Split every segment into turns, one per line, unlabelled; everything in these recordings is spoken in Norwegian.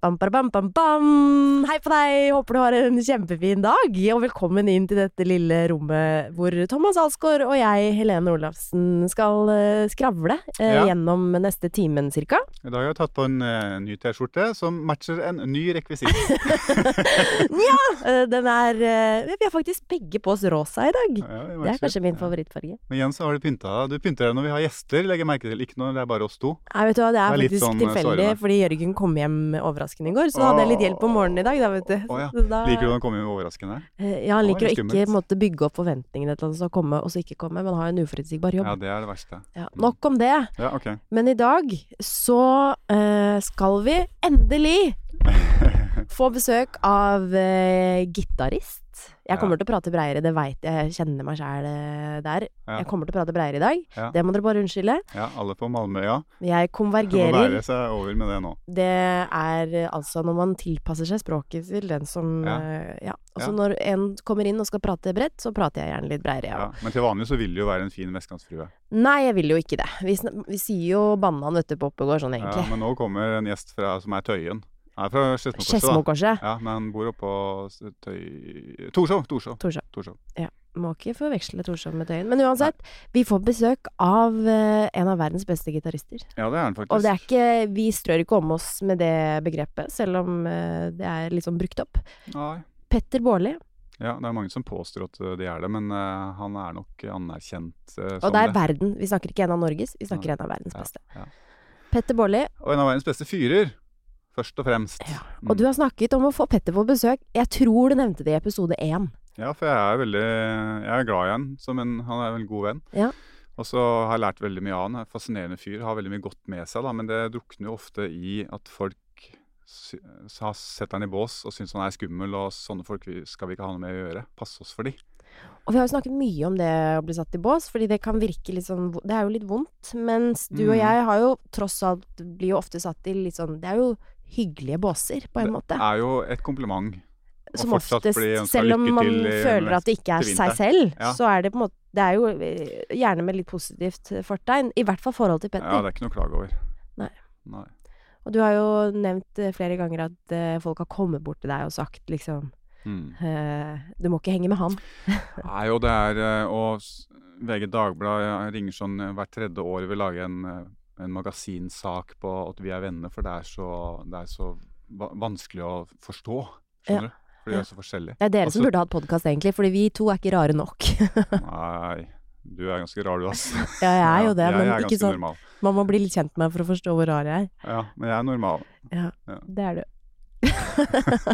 Bam, bada, bam, bam, bam. Hei på deg! Håper du har en kjempefin dag. Og velkommen inn til dette lille rommet hvor Thomas Alsgaard og jeg, Helene Olafsen, skal eh, skravle eh,
Ja.
gjennom neste timen cirka.
I dag har jeg tatt på en eh, ny T-skjorte som matcher en ny rekvisitt.
Eh, Den er eh, Vi har faktisk begge på oss rosa i dag.
Ja, vi
Det
matcher.
er kanskje min
Ja.
favorittfarge.
Men igjen så har du pynta Du pynter deg når vi har gjester, legger jeg merke til. Ikke når det er bare oss to.
Nei, vet du hva, det er
Det er litt
faktisk
sånn, eh,
tilfeldig,
sårende.
fordi Jørgen kom hjem overraskende i går. Så da hadde jeg litt hjelp om morgenen i dag, da, vet du.
Å ja.
Så Altså, da-
Liker du å komme med overraskende?
Eh, Ja, han
Å,
liker å
det er
ikke på en
skummelt.
måte, bygge opp forventningene til at han skal komme, og så ikke komme. Men har en uforutsigbar jobb.
Ja, det er det verste.
Ja, nok om det.
Ja, OK.
Men i dag så eh, skal vi endelig få besøk av eh, gitarist. Jeg kommer
Ja.
til å prate breiere, det veit jeg. Jeg kjenner meg sjæl eh, der.
Ja.
Jeg kommer til å prate breiere i dag.
Ja.
Det må dere bare unnskylde.
ja alle på Malmøya
Jeg
må
konvergerer.
bære seg over med det nå.
Det er eh, altså når man tilpasser seg språket til den som
Ja.
eh, Ja. Altså
Ja.
når en kommer inn og skal prate bredt, så prater jeg gjerne litt breiere, jeg
Ja. Men til vanlig så vil det jo være en fin vestkantsfrue.
Nei, jeg vil jo ikke det. Vi, sn vi sier jo banna nøtter på Oppegård sånn,
Ja,
egentlig.
men nå kommer en gjest fra, som er Tøyen. Han er fra Skedsmokorset, da.
Skedsmokorset.
Ja, men han bor oppå s- Tøy... Torshov! Torshov.
Torshov.
Torshov.
Må ikke forveksle Torshov med Tøyen. Men uansett, vi får besøk av eh, en av verdens beste gitarister.
Ja, det er han faktisk.
Og det er ikke, vi strør ikke om oss med det begrepet, selv om eh, det er litt sånn brukt opp.
Nei.
Petter Baarli,
Ja, det er mange som påstår at ø, de er det, men ø, han er nok anerkjent ø,
og
som
det er
det.
verden. Vi snakker ikke en av Norges, vi snakker
Ja.
en av verdens
Ja,
beste.
ja.
Petter Baarli,
Og en av verdens beste fyrer, først og fremst.
Ja,
Mm.
og du har snakket om å få Petter på besøk. Jeg tror du nevnte det i episode én.
Ja, for jeg er veldig jeg er glad i han, som en, han er en god venn.
Ja.
Og så har jeg lært veldig mye av han. er en Fascinerende fyr. Har veldig mye godt med seg, da, men det drukner jo ofte i at folk sy sa- setter han i bås og syns han er skummel, og sånne folk vi- skal vi ikke ha noe med å gjøre. Pass oss for de.
Og vi har jo snakket mye om det å bli satt i bås, fordi det kan virke litt sånn Det er jo litt vondt. Mens du og
Mm.
jeg har jo tross alt blir jo ofte satt i litt sånn Det er jo hyggelige båser, på en måte.
Det er jo et kompliment. og
Som
fortsatt
oftest,
bli ønsket
selv om
lykke
man
til i
føler at det ikke er
neste
seg
vinter.
selv,
Ja.
så er det på en måte Det er jo eh, gjerne med litt positivt fortegn. I hvert fall forhold til
Ja,
Petter.
det er ikke noe å klage over.
Nei.
Nei.
og du har jo nevnt eh, flere ganger at eh, folk har kommet bort til deg og sagt liksom
Mm.
eh, Du må ikke henge med han.
Nei, og det er eh, Og s- VG Dagblad eh, ringer sånn eh, hvert tredje år vil lage en, eh, en magasinsak på at vi er venner, for det er så, det er så va- vanskelig å forstå.
Ja.
Skjønner du? For de er så forskjellige.
Det er dere som
Altså-
burde hatt podkast, egentlig, fordi vi to er ikke rare nok.
Nei, du er ganske rar, du, ass.
ja, jeg er jo det,
Ja, jeg
men
er
ikke
ganske
sånn
normal.
Man må bli litt kjent med meg for å forstå hvor rar jeg er.
Ja, men jeg er normal.
Det er du.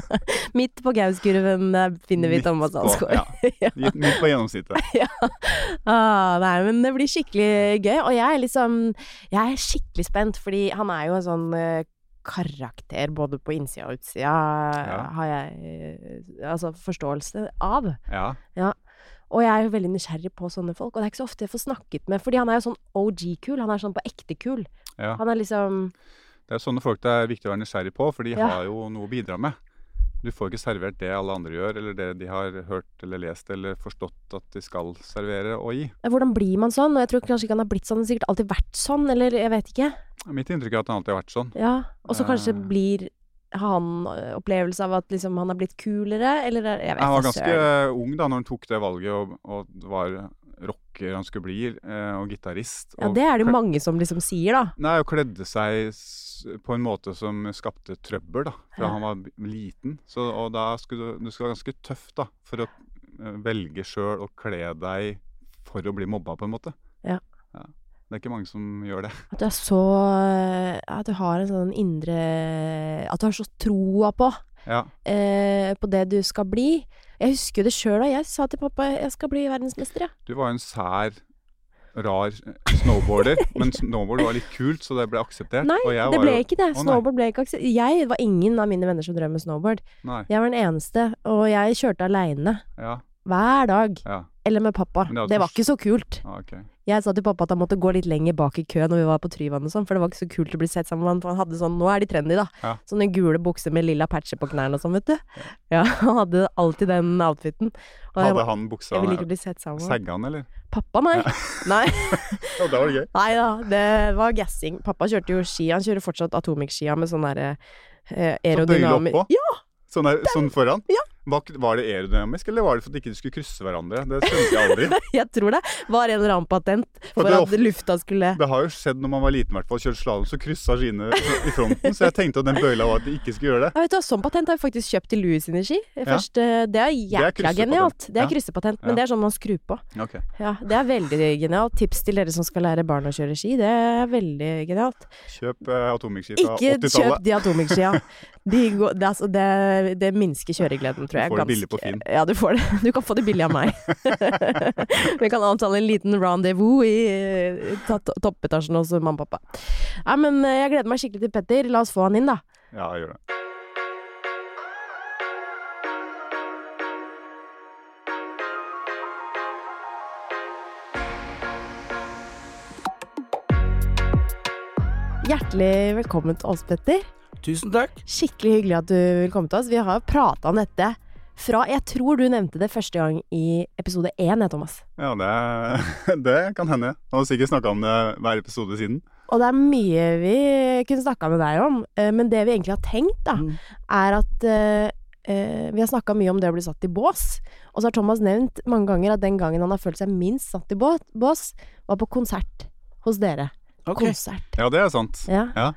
Midt på Gauskurven eh, finner vi
Midt
Thomas
på-
Alsgaard. Ja.
Ja, midt- midt på gjennomsnittet.
Ah, nei, men det blir skikkelig gøy. Og jeg er liksom Jeg er skikkelig spent, fordi han er jo en sånn eh, karakter både på innsida og utsida,
Ja.
har jeg eh, altså forståelse av.
Ja.
Og jeg er jo veldig nysgjerrig på sånne folk, og det er ikke så ofte jeg får snakket med, fordi han er jo sånn OG-kul. Han er sånn på ekte-kul.
ja.
Han er liksom
Det er sånne folk det er viktig å være nysgjerrig på, for de
Ja.
har jo noe å bidra med. Du får ikke servert det alle andre gjør, eller det de har hørt eller lest eller forstått at de skal servere og gi.
Hvordan blir man sånn? Og jeg tror kanskje ikke han har blitt sånn, han har sikkert alltid vært sånn, eller jeg vet ikke.
Mitt inntrykk er at han alltid har vært sånn.
Ja. Og så kanskje
Eh.
blir har han ø, opplevelse av at liksom han har blitt kulere, eller er- jeg vet
Han var
da
ganske
søren.
ung da når han tok det valget og, og var rocker han skulle bli, eh, og gitarist.
Ja,
og
det er det
kled-
jo mange som liksom sier, da.
Nei, og kledde seg s- på en måte som skapte trøbbel, da. Fra
Ja.
han var b- liten. Så, og da skulle du, du skal være ganske tøff, da, for å eh, velge sjøl å kle deg for å bli mobba, på en måte.
Ja.
Det er ikke mange som gjør det.
At du er så ø, At du har en sånn indre At du har så troa på
Ja,
ø, På det du skal bli. Jeg husker jo det sjøl da jeg sa til pappa jeg skal bli verdensmester, ja.
Du var jo en sær rar snowboarder, men snowboard var litt kult, så det ble akseptert.
Nei,
og jeg
det
var
ble
jo-
ikke det.
Å, nei.
Snowboard ble ikke akseptert. Jeg var ingen av mine venner som drev med snowboard.
Nei,
Jeg var den eneste, og jeg kjørte aleine.
ja,
Hver dag.
ja,
Eller med pappa.
Men det hadde
Det var
ikke-
ikke så kult.
ja, ok.
Jeg sa til pappa at han måtte gå litt lenger bak i kø når vi var på Tryvann og sånn, for det var ikke så kult å bli sett sammen med han, for han hadde sånn, nå er de trendy da,
Ja.
sånne gule bukser med lilla patcher på knærne og sånn, vet du. Ja, han hadde alltid den outfiten. Og jeg,
Hadde
var-
han buksa
jeg ville ikke bli sett sammen med han.
Sagga han, eller?
Pappa, nei. Nei.
Ja, da var det gøy.
Nei da, det var gassing. Pappa kjørte jo ski, han kjører fortsatt atomic-skia med sånn derre eh,
Så bøyle opp
aerodynamisk
på?
Ja,
Sånn, der, sånn foran?
Ja.
Var, ikke- var det aerodynamisk, eller var det for at de ikke skulle krysse hverandre? Det skjønte jeg aldri.
jeg tror det var en eller annen patent
For
for
det er
at lufta skulle
Det har jo skjedd når man var liten, i hvert fall. Kjørte slalåm, så kryssa skiene i fronten. Så jeg tenkte at den bøyla var at de ikke skulle gjøre det.
Ja, vet du, hva, Sånn patent har vi faktisk kjøpt til Louis sine ski. Først, eh, det er jækla
kryssepatent.
genialt. Det
Ja.
er kryssepatent, men
Ja.
det er sånn man skrur på.
Ok.
Ja, Det er veldig genialt. Tips til dere som skal lære barn å kjøre ski. Det er veldig genialt.
Kjøp eh, atomikski fra
Ikke kjøp
80-tallet.
de atomic-skia. De går- det, er altså, det, det minsker kjøregleden, tror jeg.
Du får det billig på
ganske-
Finn.
Ja, du får det. Du kan få det billig av meg. Vi kan avtale en liten rendezvous i eh, ta- toppetasjen hos mamma og pappa. Nei, men eh, jeg gleder meg skikkelig til Petter. La oss få han inn, da.
Ja, gjør det.
Hjertelig velkommen til oss, Petter.
Tusen takk.
Skikkelig hyggelig at du vil komme til oss. Vi har prata om dette fra Jeg tror du nevnte det første gang i episode én, jeg, Thomas.
Ja, det, det kan hende. Han har sikkert snakka om det hver episode siden.
Og det er mye vi kunne snakka med deg om, eh, men det vi egentlig har tenkt, da,
Mm.
er at eh, eh, vi har snakka mye om det å bli satt i bås. Og så har Thomas nevnt mange ganger at den gangen han har følt seg minst satt i bå- bås, var på konsert hos dere.
Ok.
Konsert.
Ja, det er sant.
Ja.
Ja.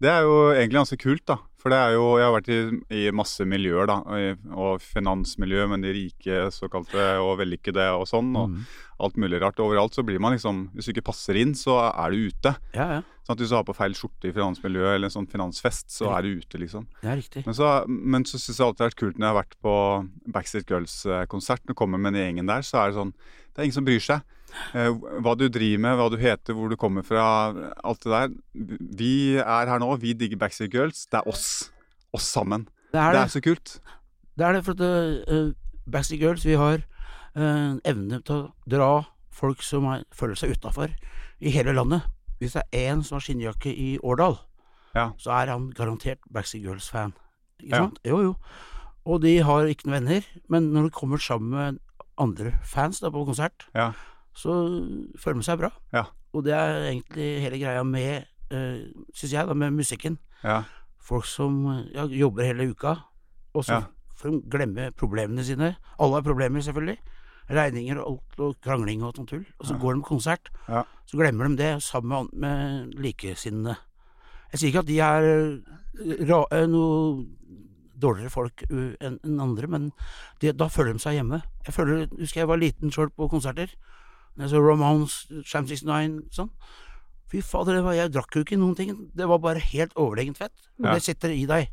Det er jo egentlig ganske kult, da. For det er jo, jeg har vært i, i masse miljøer, da. Og, i- og finansmiljø, men de rike såkalte og vellykkede og sånn. Og
Mm.
alt mulig rart. Overalt så blir man liksom Hvis du ikke passer inn, så er du ute.
Ja, ja.
Sånn at Hvis du har på feil skjorte i finansmiljøet eller en sånn finansfest, så er du ute, liksom.
Det er riktig.
Men så, men så syns jeg alltid det har vært kult når jeg har vært på Backstreet Girls-konsert. Når du kommer med den gjengen der, så er det sånn Det er ingen som bryr seg. Eh, hva du driver med, hva du heter, hvor du kommer fra, alt det der. Vi er her nå, vi digger Backstreet Girls. Det er oss. Oss sammen.
Det er
Det
det.
er så kult.
Det er det, for at eh, Backstreet Girls, vi har eh, evne til å dra folk som er, føler seg utafor, i hele landet. Hvis det er én som har skinnjakke i Årdal,
Ja.
så er han garantert Backstreet Girls-fan. Ikke
Ja.
sant? Jo, jo. Og de har ikke noen venner, men når de kommer sammen med andre fans da, på konsert,
Ja.
så føler de seg bra.
Ja.
Og det er egentlig hele greia med, uh, syns jeg, da, med musikken
Ja.
folk som eh, ja, jobber hele uka, og så
Ja.
får de glemme problemene sine. Alle har problemer, selvfølgelig. Regninger og alt, og krangling og sånt tull. Og så
Ja.
går de på konsert,
Ja.
så glemmer de det, sammen med, an- med likesinnede. Jeg sier ikke at de er eh, ra, eh, noe dårligere folk uh, enn enn andre, men de, da føler de seg hjemme. Jeg føler, husker jeg var liten sjøl på konserter. Når Jeg så Romance, Sham 69, sånn. Fy fader, det var, jeg drakk jo ikke noen ting. Det var bare helt overlegent fett. Og
Ja.
det sitter i deg.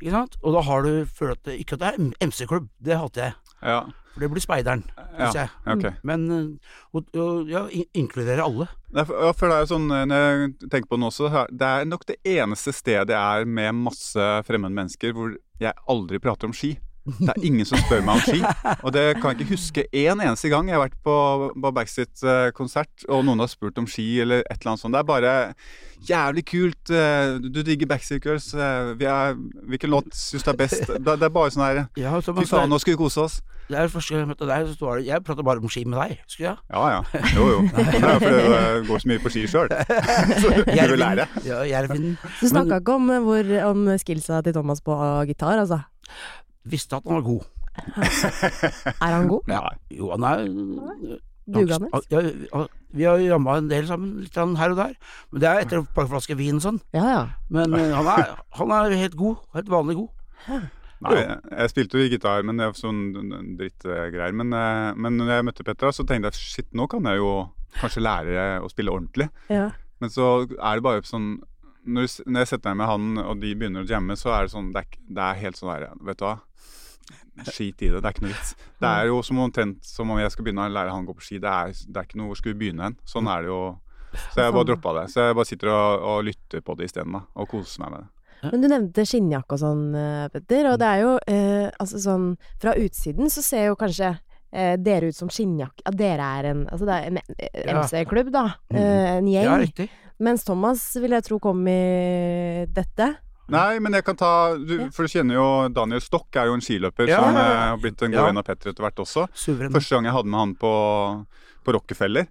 Ikke sant? Og da har du følt at det, Ikke at det er MC-klubb, det hater jeg.
Ja.
For det blir speideren, syns jeg.
ja, Ok.
Men eh, og, og, ja, in inkludere alle.
Nei, for- ja, for det er jo sånn, eh, når jeg tenker på den også, her- det er nok det eneste stedet jeg er med masse fremmede mennesker hvor jeg aldri prater om ski. Det er ingen som spør meg om ski. Og det kan jeg ikke huske én eneste gang jeg har vært på, på Backstreet-konsert og noen har spurt om ski eller et eller annet sånt. Det er bare jævlig kult. eh, Du digger Backstreet Girls. eh, Vi er, hvilken låt syns du er best? Det, det er bare sånn her
Ja, så
Fy
man,
faen, nå skal vi kose oss.
det er første gang jeg møtte deg, så står det Jeg prater bare om ski med deg, husker jeg.
Ja ja. Jo jo. Det er jo fordi du eh, går så mye på ski sjøl. Så du vil lære.
Ja, Jervin
Du snakka ikke om, eh, hvor, om skillsa til Thomas på eh, gitar, altså.
visste at han var god.
Er han god?
Ja. Jo, han er
Dugende?
Ja, ja, vi har jamma en del sammen, litt grann her og der. Men det er etter et par flasker vin og sånn.
Ja ja.
Men eh, han er, han er helt god. Helt vanlig god.
Nei,
Jo.
jeg, jeg spilte jo gitar, men det var sånn drittgreier. Men, eh, men når jeg møtte Petra, så tenkte jeg shit, nå kan jeg jo kanskje lære å spille ordentlig.
ja.
Men så er det bare sånn når, du s- når jeg setter meg med han, og de begynner å jamme, så er det sånn Det er, ikke- det er helt sånn der, vet du hva. Skit i det, det er ikke noe vits. Det er jo som omtrent som om jeg skal begynne å lære han å gå på ski. Det er, det er ikke noe Hvor skulle vi begynne hen? Sånn er det jo. Så jeg bare droppa det. Så jeg bare sitter og, og lytter på det isteden, da. Og koser meg med det.
Men du nevnte skinnjakke og sånn, eh, Petter.
Mm.
Og det er jo eh, altså sånn Fra utsiden så ser jo kanskje eh, dere ut som skinnjakke At dere er en Altså det er en eh,
Ja.
MC-klubb, da.
Mm.
Eh, en
Ja,
gjeng.
riktig.
Mens Thomas vil jeg tro kom i dette.
Nei, men jeg kan ta du,
Ja.
For du kjenner jo Daniel Stokk er jo en skiløper
Ja.
som eh, har blitt en god
Ja.
venn av Petter etter hvert også.
Suveren.
Første gang jeg hadde med han på, på Rockefeller.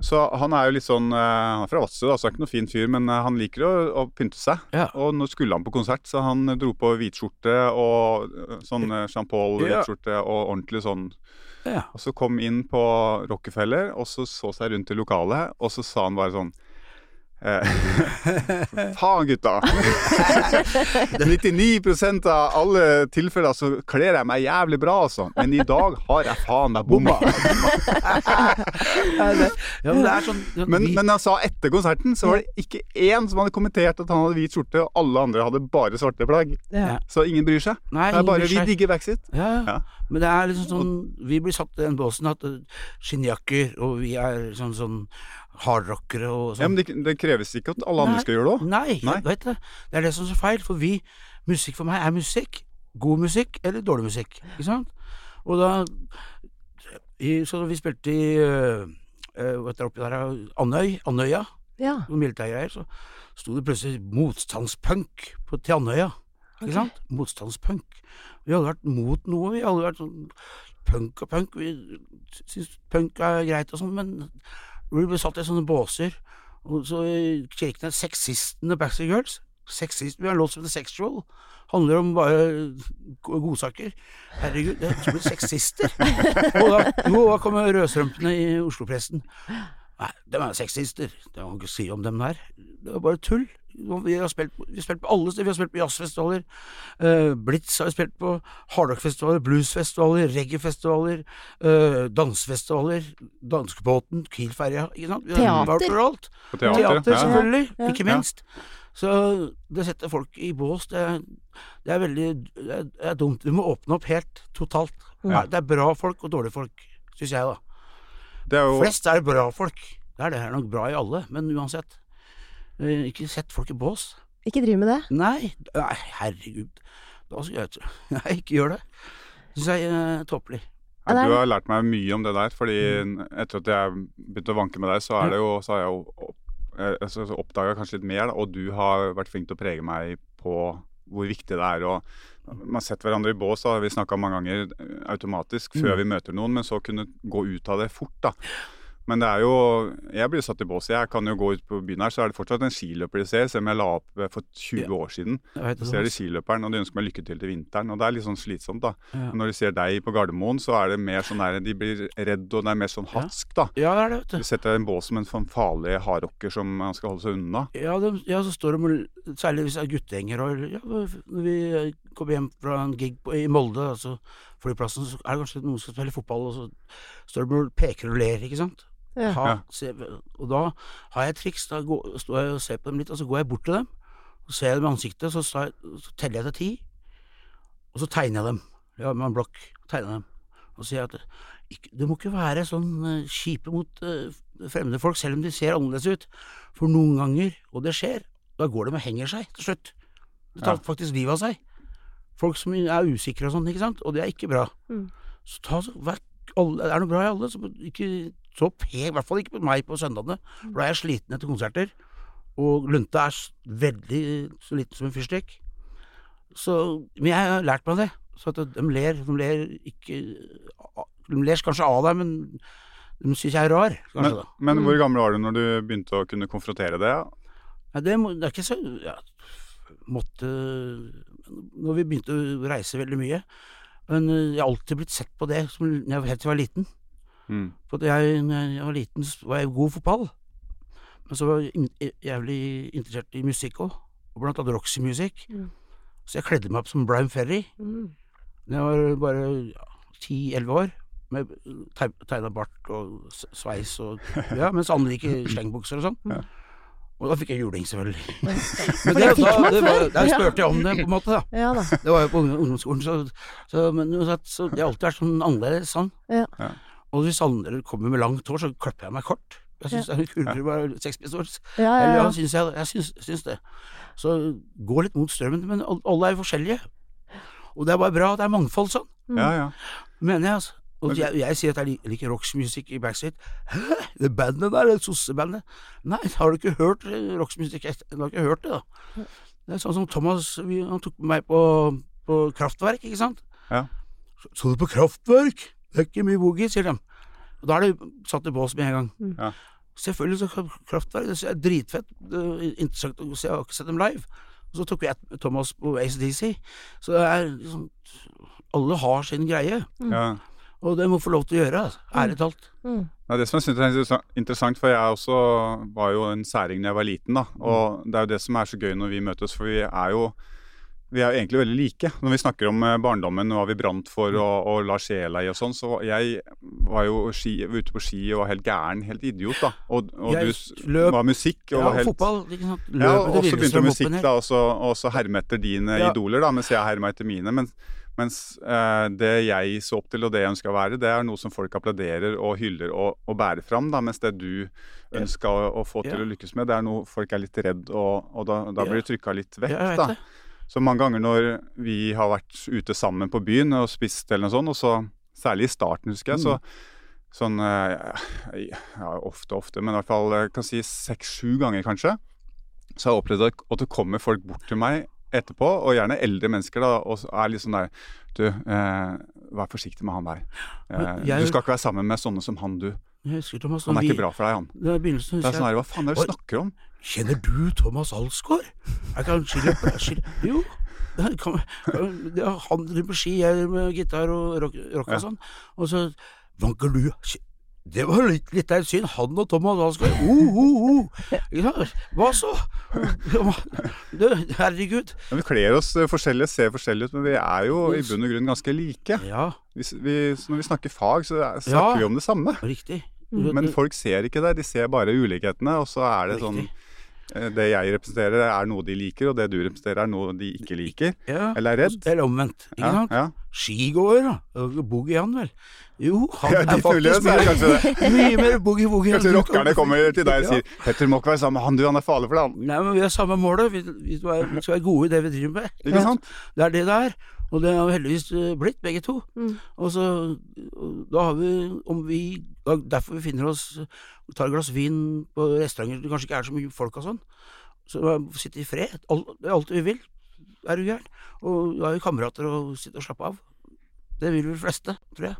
Så han er jo litt sånn eh, Han er fra Vadsø, da, så er ikke noe fin fyr, men eh, han liker å, å pynte seg.
Ja.
Og nå skulle han på konsert, så han dro på hvitskjorte og eh, sånn eh, Jean
Ja.
Paul-hvitskjorte og ordentlig sånn.
Ja.
Og så kom inn på Rockefeller, og så så seg rundt i lokalet, og så sa han bare sånn eh, Faen, gutta! 99 av alle tilfeller så kler jeg meg jævlig bra, altså. Men i dag har jeg faen meg bomma.
Ja, det- ja, men det er sånn
Men,
vi-
men han sa etter konserten så var det ikke én som hadde kommentert at han hadde hvit skjorte, og alle andre hadde bare svarte plagg.
Ja.
Så ingen bryr seg.
Nei,
Det er bare vi
ingen bryr seg.
digger Backseat.
ja, ja.
Ja.
Men det er liksom sånn Vi blir satt i den båsen at eh, skinnjakker, og vi er sånn, sånn hardrockere og
Ja,
sånn.
men det, det kreves ikke at alle
Nei.
andre skal gjøre det òg.
Nei,
Nei.
jeg vet det. Det er det som er så feil, for vi Musikk for meg er musikk. God musikk eller dårlig musikk, ikke sant? Og da i, Så vi spilte i øh, øh, Hva heter det oppi der? øh, Andøy? Andøya?
Ja.
Noen militærgreier. Så sto det plutselig motstandspunk på, til Andøya. Ikke sant? Motstandspunk. Vi hadde vært mot noe, vi hadde vært sånn punk og punk. Vi syns punk er greit og sånn, men vi ble satt i sånne båser. Og så Kirken er sexistene Backstreet Girls. Sexist, vi har en låt som heter Sexual. Handler om bare go- godsaker. Herregud, det er utrolig sexister. Og da, jo, da kommer rødstrømpene i Oslo-pressen. Nei, de er sexister. Det må man ikke si om dem der. Det er bare tull. Vi har spilt, på- vi har spilt på alle steder. Vi har spilt på jazzfestivaler. Eh, Blitz har vi spilt på. Hardrockfestivaler, bluesfestivaler, reggaefestivaler, eh, dansefestivaler. Danskebåten, Kiel-ferja. ikke sant? Vi har
Teater.
vært overalt.
På
Teater,
teater. Ja.
selvfølgelig.
Ja.
Ikke
Ja.
minst. Så det setter folk i bås. Det er, det er veldig det er, det er dumt. Vi må åpne opp helt, totalt.
Ja.
Det er bra folk og dårlige folk, syns jeg, da.
Det er jo
Flest er bra folk. Det er det her nok bra i alle, men uansett. eh, Ikke sett folk i bås.
Ikke driv med det.
Nei, nei herregud. Da skal jeg Nei, ikke gjør det. Syns jeg er tåpelig.
Ja,
Eller-
du har lært meg mye om det der, fordi etter at jeg begynte å vanke med deg, så, er det jo, så har jeg jo opp- eh, altså, så oppdaga kanskje litt mer, da, og du har vært flink til å prege meg på hvor viktig det er å Man setter hverandre i bås, da, har vi snakka mange ganger eh, automatisk før vi møter noen, men så kunne gå ut av det fort, da. Men det er jo Jeg blir satt i bås. Jeg kan jo gå ut på byen her, så er det fortsatt en skiløper de ser, selv om jeg la opp eh, for 20 år siden.
Jeg vet
Så
det.
ser de skiløperen, og de ønsker meg lykke til til vinteren. Og det er litt sånn slitsomt, da.
Ja.
Men Når de ser deg på Gardermoen, så er det mer sånn der De blir redd, og det er mer sånn hatsk, da.
Ja, det er det, vet du.
Du setter deg i en bås som en sånn farlig hardrocker som man skal holde seg unna.
Ja, de, ja, så står de og- Særlig hvis det er guttegjenger og ja, Når vi eh, kommer hjem fra en gig på, i Molde, altså flyplassen, så er det kanskje noen som spiller fotball, og så står de og peker og ler, ikke sant?
Ja.
Ha,
Ja.
se, og da har jeg et triks. Da går, står jeg og ser på dem litt, og så går jeg bort til dem, og ser dem i ansiktet, så, sa jeg, så teller jeg til ti, og så tegner jeg dem. Ja, med en blokk. Tegner jeg dem. Og sier at ikke, det må ikke være sånn eh, kjipe mot eh, fremmede folk, selv om de ser annerledes ut. For noen ganger, og det skjer, da går de og henger seg til slutt. Det tar
Ja.
faktisk livet av seg. Folk som er usikre og sånn, ikke sant. Og det er ikke bra.
Mm.
Så ta så, vær, alle, er det noe bra i alle, så ikke så pek, i hvert fall ikke på meg på søndagene, for da er jeg sliten etter konserter. Og lunta er s- veldig så liten som en fyrstikk. Så, men jeg har lært meg det. Så at de ler, de ler ikke De ler kanskje av deg, men de syns jeg er rar. Kanskje, Mm.
Men,
da.
men hvor gammel var du når du begynte å kunne konfrontere det?
Nei, det, må, det er ikke så ja, Måtte Når vi begynte å reise veldig mye Men eh, jeg har alltid blitt sett på det som, når jeg- Helt til jeg var liten
Mm.
For at jeg, når jeg var liten så var jeg god i fotball Men så var jeg in- jævlig interessert i musikk også Og blant annet roxymusikk
Mm.
Så jeg kledde meg opp som Brian Ferry
Mm.
Da jeg var bare ti-elleve år Med tegna bart og s- sveis og, ja, Mens andre gikk i slengbukser og sånn
Ja.
Og da fikk jeg juling, selvfølgelig.
For
Men det,
det fikk
da,
man
det var,
før.
der
Ja.
spurte jeg om det, på en måte. da
Ja da.
Det var jo på ungdom- ungdomsskolen, så, så, men uansett, så det har alltid vært sånn annerledes sånn.
Ja.
Ja.
Og hvis andre kommer med langt hår, så klipper jeg meg kort. Jeg syns det er kulere å være sexpistol.
Ja, ja, ja.
Eller, altså. ja, synes jeg, jeg syns, syns det. Så gå litt mot strømmen, men al- alle er jo forskjellige. Og det er bare bra, det er mangfold sånn,
Ja, ja.
mener jeg. altså. Og
Men du-
jeg, jeg sier at jeg lik- liker rocksmusikk i Backstreet. Hæ, det bandet der, det sossebandet? Nei, har du ikke hørt eh, rocksmusikk? Jeg har ikke hørt det, da. Det er sånn som Thomas, vi, han tok med meg på, på Kraftverk, ikke sant?
Ja.
Så, så du på Kraftverk? Det er ikke mye boogie, sier de. Og da er det satt i bås med en gang.
Mm. Ja.
Selvfølgelig så kom Kraftverk, det er dritfett, det er interessant å se, jeg har ikke sett dem live. Og så tok vi et- Thomas på ACDC, så det er liksom Alle har sin greie,
ja.
og det må få lov til å gjøre, altså.
Mm.
ærlig talt.
Det er det som jeg synes er interessa- interessant, for jeg også var jo en særing da jeg var liten. da,
Mm.
Og det er jo det som er så gøy når vi møtes, for vi er jo vi er jo egentlig veldig like. Når vi snakker om eh, barndommen og hva vi brant for
Mm.
og, og la sjela i og sånn, så jeg var jo ski, ute på ski og var helt gæren, helt idiot, da. Og, og
Jeg
du s-
løp-
var musikk og
Ja,
var
og
helt
fotball, ikke sant. Løpet
ja, og så
til
begynte
Lillestrøm opp
musikk
og ned.
da, og så, og så herme etter dine
Ja.
idoler, da, mens jeg herma etter mine. Men, mens eh, det jeg så opp til, og det jeg ønska å være, det er noe som folk applauderer og hyller og, og bærer fram, da, mens det du ønska å, å få til å
Ja.
lykkes med, det er noe folk er litt redd, og, og da, da blir du trykka litt vekk,
Ja, jeg vet
da.
det.
Så mange ganger når vi har vært ute sammen på byen og spist eller noe sånt, og så særlig i starten, husker jeg,
Mm.
så sånn eh, ja, ofte, ofte, men i hvert fall jeg kan si seks-sju ganger kanskje, så har jeg opplevd at, at det kommer folk bort til meg etterpå, og gjerne eldre mennesker da, og så er litt sånn der, du, eh, vær forsiktig med han der. Eh,
Men jeg-
du skal ikke være sammen med sånne som han, du.
Jeg husker Thomas
Han
når
er
vi-
ikke bra for deg, han.
Det er begynnelsen,
Det er
husker
sånn
jeg.
der, hva faen er det du snakker om?
Kjenner du Thomas Alsgaard? Jeg kan skylde skylde- Jo. det Kan, kan, det er han driver på ski, jeg driver med gitar og rock, rock og sånn. Og så vanker du Det var litt, litt av et syn. Han og Thomas Alsgaard. Oh, oh, oh. Ikke sant? Hva så? Du, herregud.
Ja, vi kler oss eh, forskjellige, ser forskjellige ut, men vi er jo i bunn og grunn ganske like.
Ja,
Vi, s- vi, så når vi snakker fag, så er- snakker
Ja.
vi om det samme.
riktig.
Men folk ser ikke det, de ser bare ulikhetene. Og så er det sånn
Riktig.
eh, Det jeg representerer, er noe de liker, og det du representerer, er noe de ikke liker.
ja.
Eller er redd.
Eller omvendt. Ikke
Ja,
sant?
ja.
Skigåer, da. Boogie, han vel. Jo, han
Ja,
er
de tuller,
faktisk
så er det kanskje det.
mye, mye mer boogie-woogie.
Kanskje rockerne kommer til deg og sier 'Petter, du må ikke være sammen med han, du, han er farlig for deg', han.
Nei, men vi har samme målet. Vi, vi skal være- vi skal være gode i det vi driver med.
Ikke sant?
Det er det det er. Og det har vi heldigvis eh, blitt, begge to. Og så og da har vi, om vi da, Derfor vi finner oss Tar et glass vin på restauranter det kanskje ikke er så mye folk og sånn. Så eh, sitte i fred. Alt, det er alt vi vil. Er du gæren? Og da har vi kamerater og sitter og slapper av. Det vil vi fleste, tror jeg.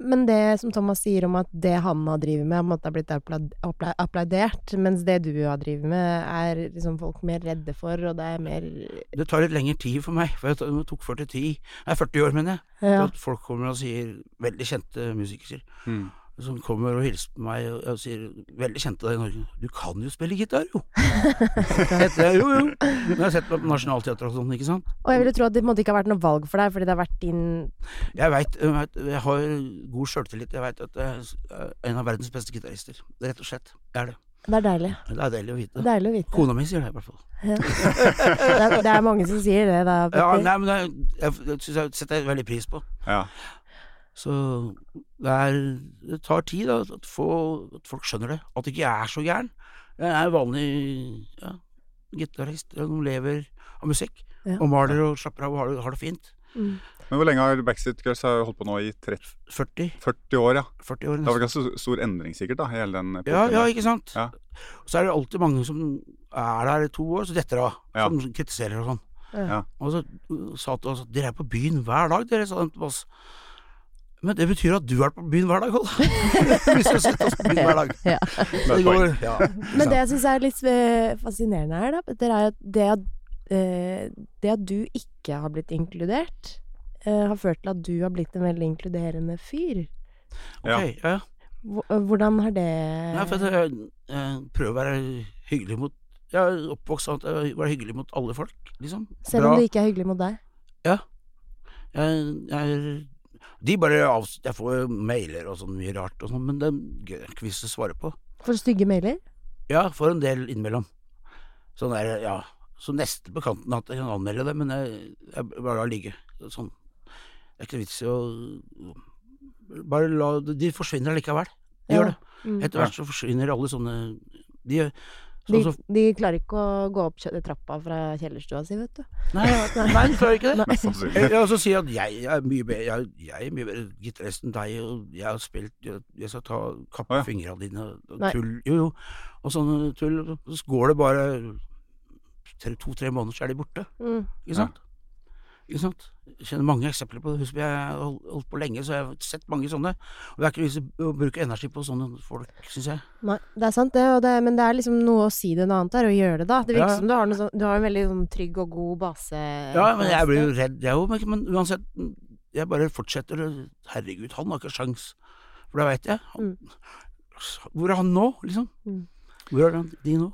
Men det som Thomas sier om at det Hanna driver med, om at det har blitt applaud- appla- applaudert, mens det du har drivet med, er liksom folk mer redde for, og det er mer
Det tar litt lengre tid for meg, for jeg tok- det tok 40, nei, 40 år, mener jeg.
ja.
At folk kommer og sier Veldig kjente musikere
Mm.
som kommer og hilser på meg og, og sier Veldig kjente deg i Norge. Du kan jo spille gitar, jo! Heter jeg, jo, jo. Når jeg har sett meg på Nationaltheatret og sånn, ikke sant.
Og jeg ville tro at det på en måte ikke har vært noe valg for deg, fordi det har vært din
Jeg veit jeg, vet- jeg har god sjøltillit. Jeg veit at jeg er en av verdens beste gitarister. Rett og slett. Jeg er det.
Det er deilig.
Det er deilig å vite.
Deilig å vite.
Kona mi sier det, i hvert fall.
Det er, det er mange som sier det, da,
Ja,
Petter.
nei, men det, jeg, jeg synes jeg setter jeg veldig pris på.
Ja.
Så det, er, det tar tid da, at, få, at folk skjønner det. At ikke jeg er så gæren. Jeg er vanlig ja, gitarist ja, som lever av musikk.
Ja.
Og maler og slapper av og har det, har det fint.
Men hvor lenge har Backstreet Girls har holdt på nå? I 30,
40,
40 år, ja.
40 år
Det har vært
nesten.
ganske stor endring sikkert, da, hele den epoken.
Ja, ja,
der.
ikke sant.
Ja.
Så er det alltid mange som er der i to år, så detter av.
Ja.
Som kritiserer og sånn.
Ja.
Og så uh, sa til oss at dere er på byen hver dag, dere, sa de til oss. Men det betyr at du er på byen hver dag, Ola. Vi skal sette oss på byen hver dag.
Ja.
Så det går, ja.
Men det jeg syns er litt eh, fascinerende her, da, Petter, er at det at, eh, det at du ikke har blitt inkludert, eh, har ført til at du har blitt en veldig inkluderende fyr.
Ja.
Ok, ja.
Hvor- eh, Hvordan har det
Nei, for at jeg, jeg prøver å være hyggelig mot Jeg er oppvokst sånn at jeg var hyggelig mot alle folk, liksom.
Selv om
Bra.
det ikke er hyggelig mot deg.
Jeg, jeg er De bare avs... Jeg får mailer og sånn mye rart og sånn, men det er ikke vits å svare på.
For stygge mailer?
Ja, får en del innimellom. Sånn er det, ja. Så neste på kanten at jeg kan anmelde det, men jeg, jeg bare lar ligge. Sånn. Det er ikke vits i å Bare la De forsvinner likevel. De
Ja.
gjør det.
Mm.
Etter hvert så forsvinner alle sånne De
De,
sånn som
de klarer ikke å gå opp kjø- trappa fra kjellerstua si, vet du.
Nei, nei, du klarer ikke det.
Mest sannsynlig.
Jeg, jeg også sier at jeg er mye bedre Jeg, jeg er mye bedre gitarist enn deg, og jeg har spilt Jeg, jeg skal ta kappe
Å, ja.
fingrene dine og, og
Nei.
tull Jo, jo. Og sånn tull. og Så går det bare tre- to-tre måneder, så er de borte.
Mm.
Ikke sant? Ikke sant? Jeg kjenner mange eksempler på det. Husk, jeg har hold- holdt på lenge, så jeg har sett mange sånne. Og det er ikke vits i å bruke energi på sånne folk, syns jeg.
Nei, det er sant det, og det, men det er liksom noe å si det noe annet er å gjøre det, da. Det virker
Ja.
som du har, noe sånn, du har en veldig sånn, trygg og god base.
Ja, men jeg blir jo redd, jeg òg. Men uansett, jeg bare fortsetter. og Herregud, han har ikke sjans. For det veit jeg. Han, Hvor er han nå, liksom?
Mm.
Hvor er han, de nå?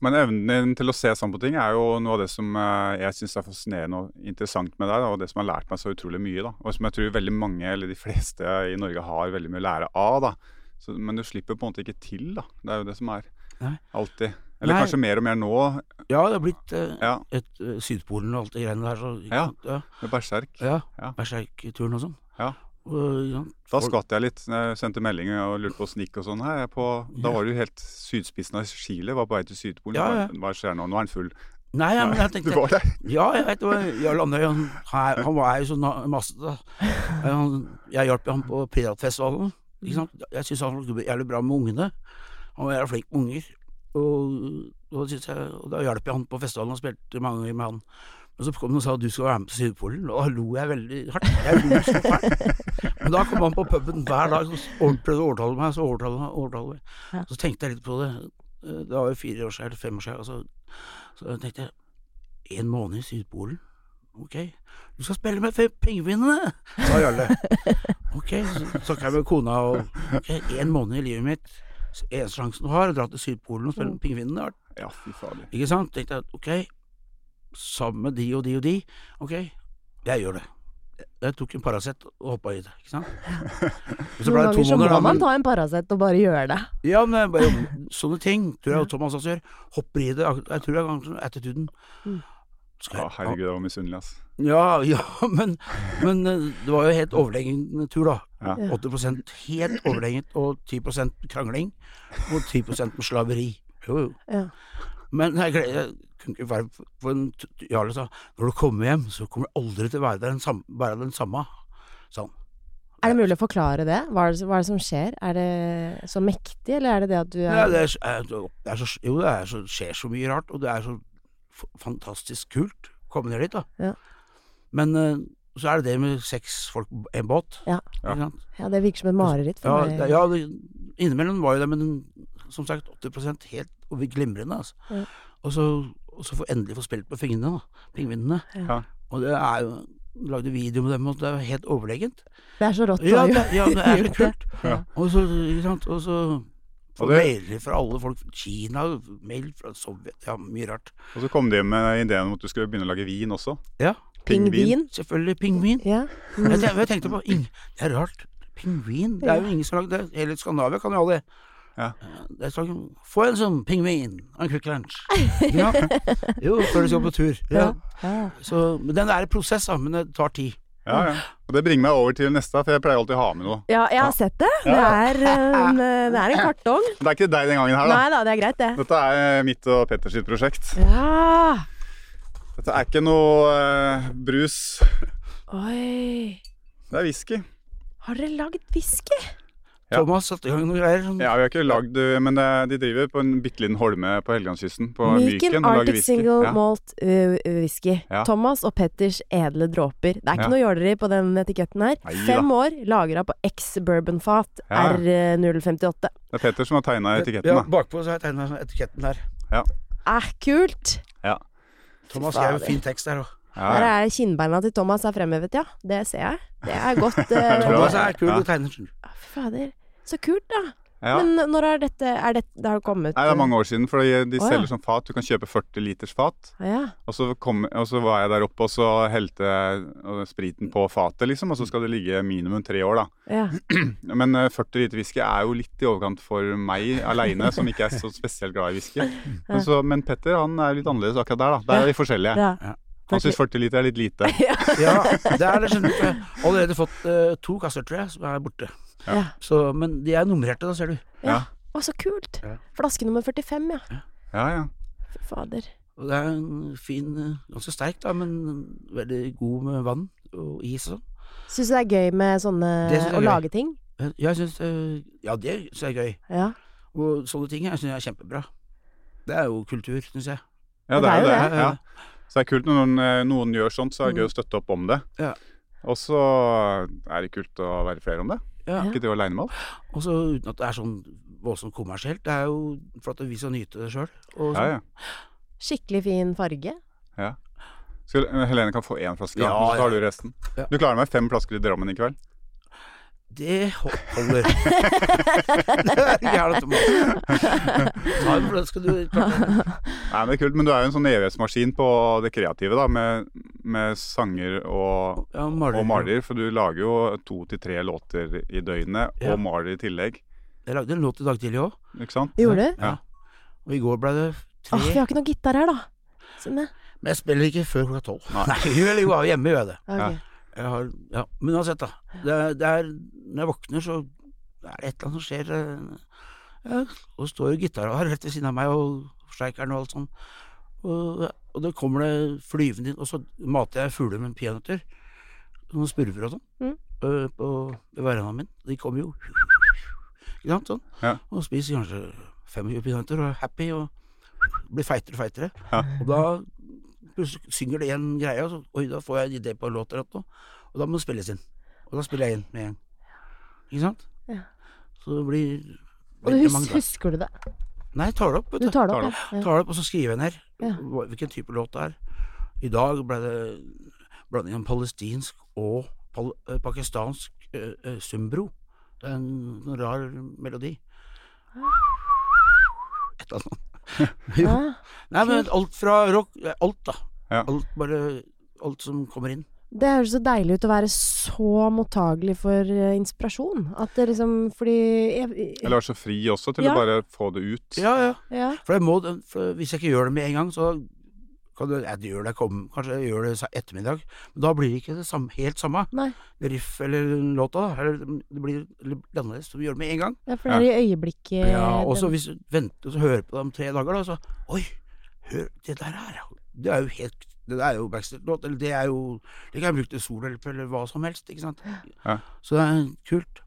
Men evnen din til å se sånn på ting er jo noe av det som eh, jeg syns er fascinerende og interessant med deg, da, og det som har lært meg så utrolig mye, da. Og som jeg tror veldig mange, eller de fleste i Norge, har veldig mye å lære av, da. Så, men du slipper på en måte ikke til, da. Det er jo det som er.
Nei.
Alltid. Eller
Nei.
kanskje mer og mer nå.
Ja, det har blitt eh,
Ja.
et, eh, Sydpolen og alt det greiene der. Så,
Ja.
ja,
Med berserk.
ja.
Ja.
Berserkturen og sånn.
Ja.
Og, ja.
Da skvatt jeg litt. når Jeg sendte melding og lurte på åssen det gikk og sånn. Her, jeg er på, da var du helt sydspissen av Chile, var på vei til Sydpolen.
Ja, ja.
Hva- Hva skjer nå? Nå er den full.
Nei, ja, men jeg
Du
tenkte
var der.
Ja, jeg vet det. var Jarl Andøy, han, han er- han var jo så na- masse da. Han, Jeg hjalp ham på piratfestivalen. Ikke sant? Jeg syns han var jævlig bra med ungene. Han var jævlig flink med unger. Og, og, da synes jeg, og da hjalp jeg han på festivalen og spilte mange ganger med han. Men så kom han og sa du skal være med på Sydpolen, og da lo jeg veldig hardt. Jeg lo superhardt. Men da kom han på puben hver dag og s- og prøvde å overtale meg, så overtalte han overtalte meg.
Ja.
Så tenkte jeg litt på det. Eh, Det var jo fire år siden, eller fem år siden. og Så, så tenkte jeg en måned i Sydpolen. Ok, du skal spille med fe- pingvinene, sa Jarle. Ok, så snakka jeg med kona og ok, en måned i livet mitt. Så Eneste sjansen du har, er å dra til Sydpolen og spille
Mm.
med pingvinene. da.
Ja, fy fader.
Ikke sant? Tenkte jeg at ok, sammen med de og de og de, ok, jeg gjør det. Jeg tok en Paracet og hoppa i det, ikke sant. Men så ble
Noen
det to
ganger så
måneder,
må
da.
man
Men,
ta en Paracet og bare gjøre det.
ja, men jeg bare, sånne ting tror jeg også Thomas også gjør. Hopper i det. Jeg tror jeg har attituden.
Mm.
Skal
Ja,
jeg-
herregud, jeg var misunnelig, ass.
Ja, ja men, men eh, det var jo helt overlegen tur, da.
Ja.
80 helt overlegent og 10 krangling og 10 med slaveri. Jo, jo.
Ja.
Men jeg, gled- jeg kunne ikke være for en t- t- Jarle sa når du kommer hjem, så kommer du aldri til å være, der den, samme, være den samme. Sånn.
Er det mulig å forklare det? Hva er det, hva er det som skjer? Er det så mektig, eller er det det at du er
Ja, det er, s- eh, det er så, jo, det er så, skjer så mye rart, og det er så f- fantastisk kult å komme ned dit, da.
Ja.
Men eh, så er det det med seks folk på en båt.
Ja.
Ja.
Ikke sant?
Ja, det virker som et mareritt for
Ja,
meg.
det- ja det, innimellom var jo det, men som sagt 80 helt og glimrende. Altså.
Ja.
Og så, og så få endelig få spilt på fingrene, da. Pingvinene.
Ja.
Ja.
Og det er jo Lagde video med dem, og det er jo helt overlegent.
Det er så rått.
Ja,
du
det,
har
ja, det er
gjort
så kult.
Ja.
Og så, ikke sant, og så Få
Og det-
mailer fra alle folk fra Kina, mail fra Sovjet, ja, mye rart.
Og så kom de med ideen om at du skulle begynne å lage vin også.
Ja,
Pingvin.
selvfølgelig pingvin.
Ja. Mm.
Jeg, tenkte, jeg tenkte på ing, Det er rart. Pingvin? Det er jo ingen som har lagd det. Hele Skandinavia kan jo ha det.
Ja.
det er sånn, Få en sånn pingvin og en Quick Lunch. Ja. Jo, før du skal på tur. Ja.
Ja.
Så, men den er i prosess, da. Men det tar tid.
Ja, ja. Og det bringer meg over til neste, for jeg pleier alltid å ha med noe.
ja, jeg har sett det. Det er en, det er en kartong.
Men det er ikke deg den gangen her, da.
Nei da, det er greit, det.
Dette er eh, mitt og Petters sitt prosjekt.
Ja.
Dette er ikke noe eh, brus.
Oi.
Det er whisky.
Har dere lagd whisky?
Ja.
Thomas satte i gang noen greier. Sånn.
Ja, vi har ikke lagd, eh, men eh, de driver på en bitte liten holme på Helgelandskysten, på Myken,
Myken
og lager
Arctic
whisky.
Single
Ja.
Malt uh, Whisky.
Ja.
Thomas og Petters edle dråper. Det er ikke
Ja.
noe jåleri på den etiketten her.
Neida.
Fem år, lagra på X Bourbonfat
Ja.
R058.
Det er Petter som har tegna
Ja,
etiketten, da.
bakpå så har jeg tegna etiketten der.
Æh, kult!
Ja.
Thomas
Fy
skrev
fader.
fin tekst der òg.
Ja,
Der
ja.
er kinnbeina til Thomas er fremhevet, ja. Det ser jeg. Det er godt. eh,
Bra.
Thomas er kul
Ja.
og tegner. sånn.
Fy fader. Så kult, da.
Ja.
Men når er dette er det, det har kommet
Nei, det er mange år siden, for de, de
Å, ja.
selger sånn fat. Du kan kjøpe 40 liters fat.
Ja.
Og så, kom, og så var jeg der oppe, og så helte jeg øh, spriten på fatet, liksom. Og så skal det ligge minimum tre år, da.
ja.
Men eh, 40 liter whisky er jo litt i overkant for meg aleine, som ikke er så spesielt glad i whisky. Men, så, men Petter han er litt annerledes akkurat der, da. Der er vi forskjellige.
ja.
Han syns 40 liter er litt lite.
Ja, det er det skjønner du. Jeg har Allerede fått eh, to kasser, tror jeg, som er borte.
Ja.
Så, men de er nummererte, da, ser du.
Ja.
Å, så kult!
Ja.
Flaske nummer 45, ja.
Ja, ja.
Fy fader.
Og det er en fin, eh, ganske sterk, da, men veldig god med vann og is og sånn.
Syns du det er gøy med sånne
Det synes jeg
Å
er gøy.
lage ting?
Eh, Jeg syns eh, Ja, det syns jeg er gøy.
Ja.
Og sånne ting jeg syns jeg er kjempebra. Det er jo kultur, syns jeg.
Ja, det er jo det.
det.
Ja. Så det er kult når noen, eh, noen gjør sånt, så er det gøy å støtte opp om det.
Ja.
Og så er det kult å være flere om det.
Ja.
Ikke det aleine med alt.
Og så uten at det er sånn voldsomt kommersielt. Det er jo for at vi skal nyte det sjøl.
Ja, ja.
Skikkelig fin farge.
Skal, Helene kan få én flaske, da,
Ja,
og så tar
ja.
du resten.
Ja.
Du klarer meg fem flasker i Drammen i kveld.
Det ho- holder. det er gærent. Thomas. Ta en, for det skal du klart.
Nei, men det er kult, men du er jo en sånn evighetsmaskin på det kreative, da, med, med sanger og,
Ja, maler.
og maler. For du lager jo to til tre låter i døgnet,
Ja.
og maler i tillegg.
Jeg lagde en låt i dag tidlig òg,
Ikke sant?
Gjorde du?
Ja.
og i går ble det
Åh, vi
tre.
har ikke noe gitar her, da. Synne.
Men jeg spiller ikke før klokka tolv. Nei, vel, jo, hjemme gjør jeg det.
Ja, ok.
Jeg har, ja. Men uansett, da. Det er, det er, når jeg våkner, så er det et eller annet som skjer. eh, Ja, og står jo gitaren her rett ved siden av meg, og forsterkeren og alt sånn. Og, og da kommer det flyvende inn, og så mater jeg fugler med peanøtter. Noen spurver og sånn.
Mm.
eh, På ved verandaen min. De kommer jo Ikke sant? Sånn.
Ja.
Og spiser kanskje 25 peanøtter og er happy og blir feitere og feitere.
Ja.
Og da plutselig synger det en greie, og så, oi, da får jeg en idé på en låt eller noe. Og da må den spilles inn. Og da spiller jeg inn med en gang. Ikke sant?
Ja.
Så det blir
Og du
veldig
hus
mange da.
husker du det?
Nei, jeg tar det opp, vet
Du
du.
tar det
Tar det
opp, ja.
Tar det opp, og så skriver jeg ned
Ja.
hva- hvilken type låt det er. I dag ble det blanding av palestinsk og pal eh, pakistansk eh, eh, sumbro. Det er en, en rar melodi. Et eller annet sånt.
ja.
Jo.
ja.
Nei, men alt fra rock eh, Alt, da.
Ja.
Alt, bare, alt som kommer inn.
Det høres så deilig ut å være så mottagelig for eh, inspirasjon. At det liksom Fordi jeg,
Eller være så fri også til
Ja.
å bare få det ut.
Ja, ja.
Ja.
For, jeg må, for hvis jeg ikke gjør det med en gang, så kan du, jeg gjør det, kom, kanskje jeg gjør det sa- ettermiddag, men da blir det ikke det samme, helt samme
Nei.
riff eller låta, da, eller det blir litt annerledes, så vi gjør det med en gang.
ja, for det er i
Eh,
øyeblikket
Ja, og så
den-
hvis du venter og så hører på det om tre dager, da, så oi, hør, det der er jo- det er jo helt det der er jo Backstreet-låt, eller det er jo Det kan jeg bruke til solohjelp eller hva som helst, ikke sant.
Ja.
Så det er kult.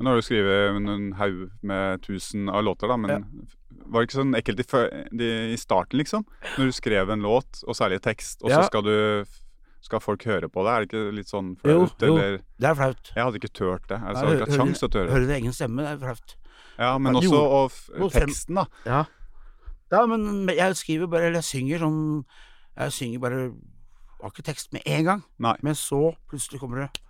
Men Nå har du skrevet en en haug med tusen av låter, da, men var det ikke sånn ekkelt i, fø- de, i starten, liksom? Når du skrev en låt, og særlig tekst, og
Ja.
så skal, du, skal folk høre på det? Er det ikke litt sånn
Jo,
flaut,
jo,
eller?
det er flaut.
Jeg hadde ikke turt det. Altså, jeg
Nei,
hadde ikke
hører-
hatt sjans til å tørre.
Hører du egen stemme, det er flaut.
Ja, men
Ja,
også
jo.
og f
Og frem-
teksten, da.
Ja. ja, men jeg skriver bare, eller jeg synger sånn Jeg synger bare Har ikke tekst med en gang,
Nei.
men så plutselig kommer det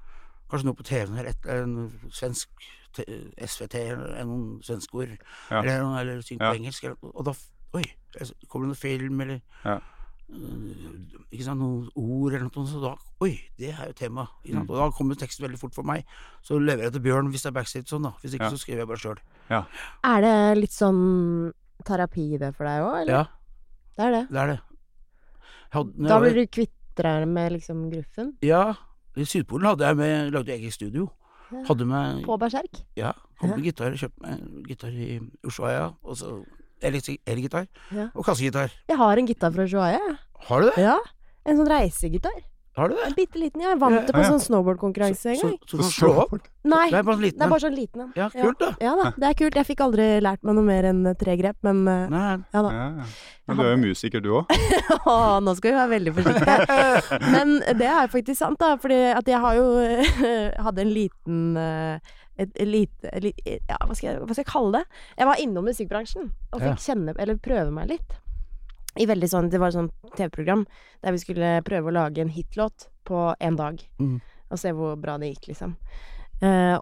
kanskje noe på TV-en eller et eller en svensk t SVT eller noen svenske ord,
Ja.
eller, noen- eller syng på
Ja.
engelsk, eller, og da f- Oi, jeg s- kommer det noen film eller
Ja.
øh, ikke sant, noen ord eller noe, så da Oi, det er jo tema. Ikke
Mm.
sant? Og da kommer teksten veldig fort for meg. Så leverer jeg til Bjørn hvis det er backstreet sånn, da. Hvis ikke
Ja.
så skriver jeg bare sjøl.
Er det litt sånn terapi det for deg òg, eller?
Ja,
Det er det.
det er det. Jeg hadde- når jeg
Da
var-
blir du kvitt deg med liksom gruffen.
Ja, i Sydpolen hadde jeg med, lagde jeg eget studio.
Ja.
Hadde med,
På berserk.
ja, kom med gitar, kjøpte meg gitar i Ushuaia, og så elektri- elgitar
Ja.
og kassegitar.
Jeg har en gitar fra Joaia, jeg.
Har du det?
Ja. En sånn reisegitar.
Har du det?
En bitte liten, ja. Jeg vant det på
Ja,
en
ja.
sånn snowboardkonkurranse en
Så,
gang.
så du kan slå opp?
Nei,
Det er bare en
det
liten
er
en.
bare sånn liten en.
Ja, kult da.
Ja da, det er kult. Jeg fikk aldri lært meg noe mer enn tre grep, men eh,
Nei,
ja da.
Ja, ja. Men du er jo musiker, du òg.
Å, nå skal vi være veldig forsiktige. Men det er faktisk sant, da. Fordi at jeg har jo hadde en liten eh, et, et lite et, li- Ja, hva skal, jeg, hva skal jeg kalle det? Jeg var innom musikkbransjen og
Ja.
fikk kjenne Eller prøve meg litt. I veldig sånn, Det var et sånt TV-program der vi skulle prøve å lage en hitlåt på én dag.
Mhm.
Og se hvor bra det gikk, liksom. Eh,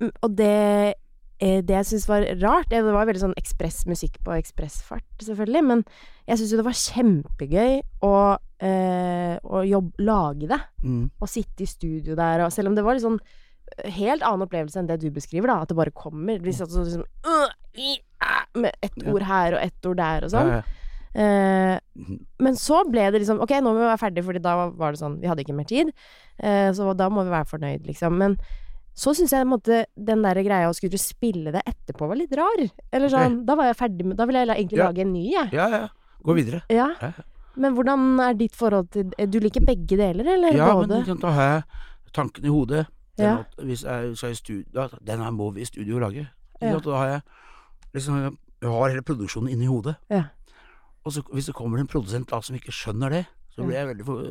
mm, og det eh, det jeg syns var rart eh, Det var veldig sånn ekspressmusikk på ekspressfart, selvfølgelig, men jeg syns jo det var kjempegøy å, eh, å jobb, lage det.
Mm.
Å sitte i studio der, og selv om det var litt sånn helt annen opplevelse enn det du beskriver, da. At det bare kommer. Vi satt sånn liksom øh, i, æ, Med ett
Ja.
ord her og ett ord der og
Ja,
sånn.
ja.
Eh,
Mhm.
men så ble det liksom Ok, nå må vi være ferdig, Fordi da var det sånn Vi hadde ikke mer tid, eh, så da må vi være fornøyd, liksom. Men så syns jeg på en måte, den der greia å skulle spille det etterpå var litt rar. Eller sånn Da var jeg ferdig med Da ville jeg la- egentlig
Ja.
lage en ny, jeg.
ja, ja. Gå videre.
Ja.
Ja, ja.
Men hvordan er ditt forhold til eh, Du liker begge deler, eller
Ja, men
både?
ikke sant, da har jeg tanken i hodet. Den,
Ja.
at hvis jeg skal i studio, da, den her må vi i studio lage. Ikke
Ja.
sant, og Da har jeg liksom jeg har hele produksjonen inni hodet.
Ja.
Og så, hvis det kommer en produsent da som ikke skjønner det, så blir jeg veldig for,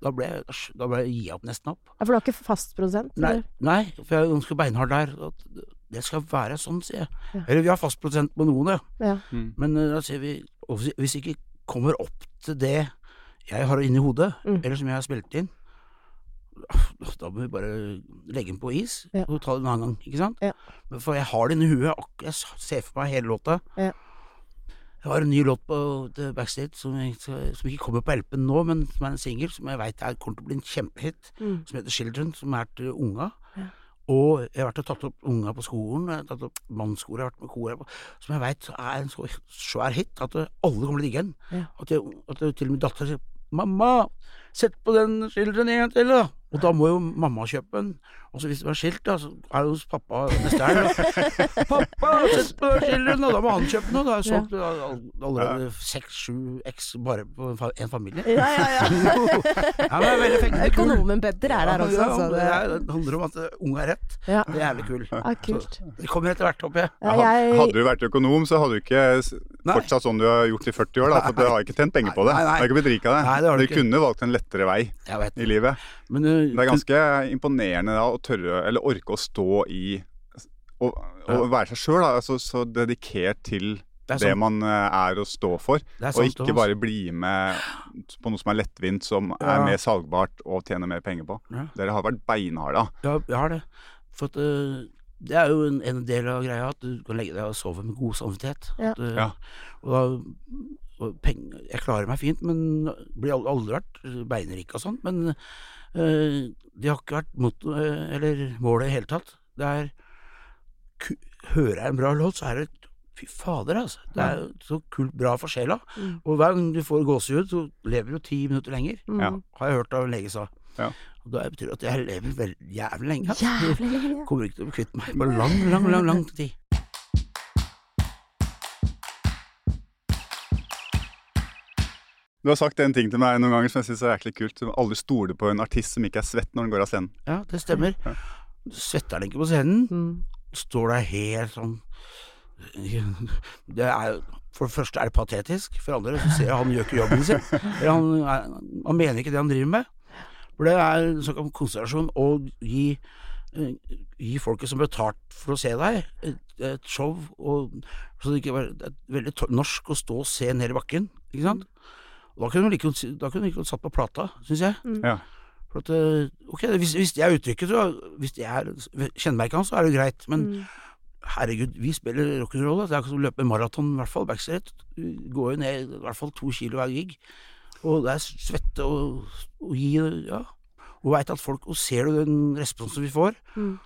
Da blir jeg, da blir jeg gir jeg opp nesten opp.
Ja, for du er ikke fast produsent?
Nei,
eller?
nei, for jeg er ganske beinhard der. At det skal være sånn, sier jeg.
Ja.
Eller vi har fast prosent på noen, ja.
Ja.
Mm.
Men eh, da sier vi og hvis- Hvis ikke kommer opp til det jeg har inni hodet,
Mm.
eller som jeg har spilt inn, da må vi bare legge den på is
Ja.
og ta det en annen gang, ikke sant?
Ja.
Men For jeg har den i huet. ak- Jeg s- ser for meg hele låta.
Ja.
Jeg har en ny låt på The Backstage som, jeg, skal- som ikke kommer på LP-en nå, men som er en singel som jeg veit kommer til å bli en kjempehit
Mm.
som heter Children, som er til unga.
Ja.
Og jeg har vært og tatt opp unga på skolen, jeg har tatt opp mannskoret, jeg har vært med koret, på- som jeg veit er en så svær hit at alle kommer til å digge den.
Ja.
At, jeg, at jeg, til og med dattera sier 'Mamma, sett på den Children en gang til', da. Og da må jo mamma kjøpe den. Og så hvis det var skilt, da, så er det hos pappa neste helg. da. 'Pappa, sett på den Children', og da må han kjøpe den. Og da har jeg solgt all- allerede seks-sju x bare på en fa- en familie.
Ja, ja, ja.
Ja, men det er veldig fengende kul.
Økonomen Petter er der også,
Ja,
så
det,
det
er, det handler om at eh, unge er rett.
Ja.
Det er jævlig kul.
Ah, kult.
Så, det kommer etter hvert, håper jeg.
Ja,
Had-
jeg
Hadde du vært økonom, så hadde du ikke s-
Nei.
fortsatt sånn du har gjort i 40 år. Da, for du har ikke tjent penger på det.
Nei,
Du
nei.
har ikke blitt rik av det.
Nei, det har du
du
ikke.
kunne valgt en lettere vei
Jeg vet
i livet.
Men eh,
Det er ganske imponerende da, å tørre, eller orke å stå i Å å være seg sjøl, altså, så dedikert til
det er
det
sant,
man eh, er å stå for.
det er
Og
sant,
ikke
Thomas.
bare bli med på noe som er lettvint, som er
Ja.
mer salgbart og tjener mer penger på.
Ja.
Dere har vært beinharde.
Ja, jeg har det. For at, eh, det er jo en, en del av greia, at du kan legge deg og sove med god samvittighet.
Ja.
At, eh,
Ja.
Og da, og peng- jeg klarer meg fint, men blir aldri, aldri vært beinrik og sånn. Men eh, det har ikke vært motto, eh, eller målet i hele tatt. Det er ku, Hører jeg en bra låt, så er det Fy fader, altså. Det er jo så kult bra for sjela.
Mm.
Og hver gang du får gåsehud, så lever du ti minutter lenger,
Mm.
Ja.
har jeg hørt av en lege sa.
Ja.
Og det betyr at jeg lever vel, jævlig lenge. altså.
Jævlig lenge.
Kommer ikke til å kvitte meg på lang, lang, lang, lang tid.
Du har sagt en ting til meg noen ganger som jeg syns er jæklig kult. Du må aldri stole på en artist som ikke er svett når den går av scenen.
Ja, det stemmer.
Ja.
Svetter den ikke på scenen,
Mm.
står der helt sånn det er, jo- For det første er det patetisk, for det andre så ser jeg han gjør ikke jobben sin. Eller han, er- han mener ikke det han driver med. For det er snakk om konsentrasjon å gi, eh, gi folket som er betalt for å se deg, et, et show. Og, så det ikke bare, det er veldig to- norsk å stå og se ned i bakken, ikke sant? Og da kunne hun like godt si- da kunne hun like godt satt på plata, syns jeg.
Ja.
For at, eh, ok, hvis, hvis jeg er uttrykket, så hvis jeg er, kjenner meg ikke han, så er det greit. Men herregud, vi spiller rock'n'roll. da. Det er ikke som å løpe maraton, i hvert fall. Backstreet Du går jo ned i hvert fall to kilo hver gig. Og det er svette og, og gi Ja. Og veit at folk Og ser du den responsen vi får?
Mm.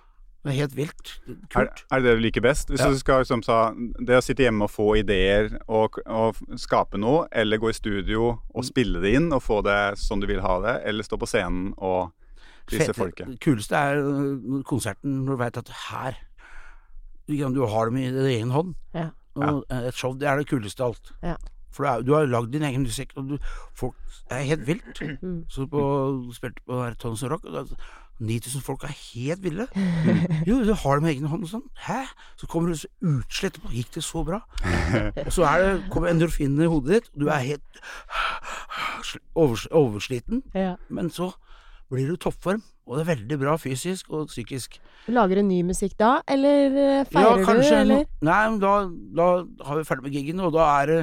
Det er helt vilt.
Er,
Kult.
er det det du liker best? Hvis
Ja.
du skal, som sa, det å sitte hjemme og få ideer og, og skape noe, eller gå i studio og spille det inn og få det sånn du vil ha det, eller stå på scenen og vise
Fete-
folket.
Det kuleste er øh, når konserten når du veit at her ikke sant, Du har dem i din egen hånd.
Ja.
Og eh, Et show det er det kuleste av alt.
Ja.
For du, er, du har lagd din egen musikk, og du, folk det er helt vilt.
Mm.
Så på, spilte på her Thomsen Rock, og da- 9000 folk er helt ville. Jo, du har dem i egen hånd og sånn. Hæ? Så kommer du så utslett etterpå. Gikk det så bra? Og så er det, kommer endorfinene i hodet ditt, og du er helt overs, oversliten.
Ja.
Men så blir du i toppform, og det er veldig bra fysisk og psykisk.
Lager du ny musikk da, eller eh, feirer du, eller?
no- Nei, men da, da har vi ferdig med giggen, og da er det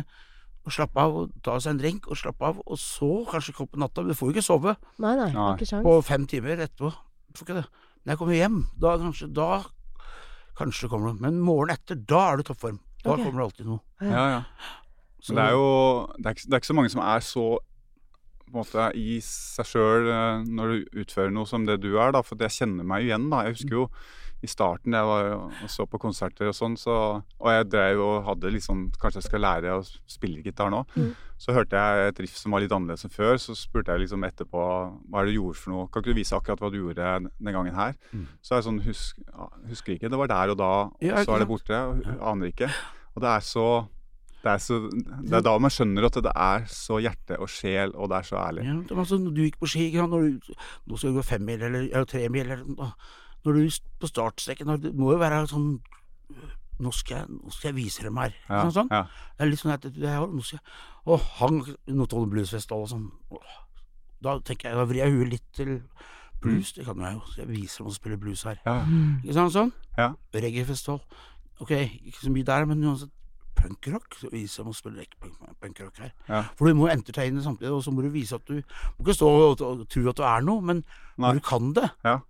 å slappe av og ta seg en drink og slappe av, og så kanskje komme på natta. Men du får jo ikke sove
Nei, nei,
Nei.
ikke sjans.
på fem timer etterpå. Du får ikke det. Når jeg kommer hjem, da kanskje da Kanskje det kommer noe. Men morgenen etter, da er du i toppform. Da
Ok.
kommer det alltid noe.
Ja, ja. Men
Så Mm.
det er jo det er, ikke, det er ikke så mange som er så på en måte i seg sjøl når du utfører noe som det du er, da. For jeg kjenner meg jo igjen, da. Jeg husker jo i starten jeg var og- og så på konserter og sånn, så Og jeg drev og hadde litt sånn Kanskje jeg skal lære å spille gitar nå.
Mm.
Så hørte jeg et riff som var litt annerledes enn før. Så spurte jeg liksom etterpå hva er det du gjorde for noe. Kan ikke du vise akkurat hva du gjorde den gangen her? Så er jeg sånn husk, ja, Husker ikke. Det var der og da,
Mm. Ja,
og så er det
ikke
borte. og hu- Aner ikke. Og det er så det er, så, det er da man skjønner at det er så hjerte og sjel, og det er så ærlig.
Ja, men altså, når du gikk på ski, ikke sant, når du, nå skal du gå fem mil eller, eller tre mil eller, noe. Når du s- på startstreken når- Det må jo være sånn Nå skal jeg, nå skal jeg vise dem her.
Ja,
Ikke sant, sånn?
ja.
Det er litt sånn at det er, nå skal jeg, Og han Notodden Bluesfestival og sånn. Åh, Da tenker jeg, da vrir jeg huet litt til blues. Det kan jeg jo. Så jeg viser dem å spille blues her.
Ja.
Ikke sant sånn?
Ja.
Reggaefestival. Ok, ikke så mye der, men uansett punkrock. så Vise dem å spille reg- punk- punkrock her.
Ja.
For du må entertaine samtidig, og så må du vise at du Må ikke stå og, og tro at du er noe, men
Nei.
når du kan det
Ja.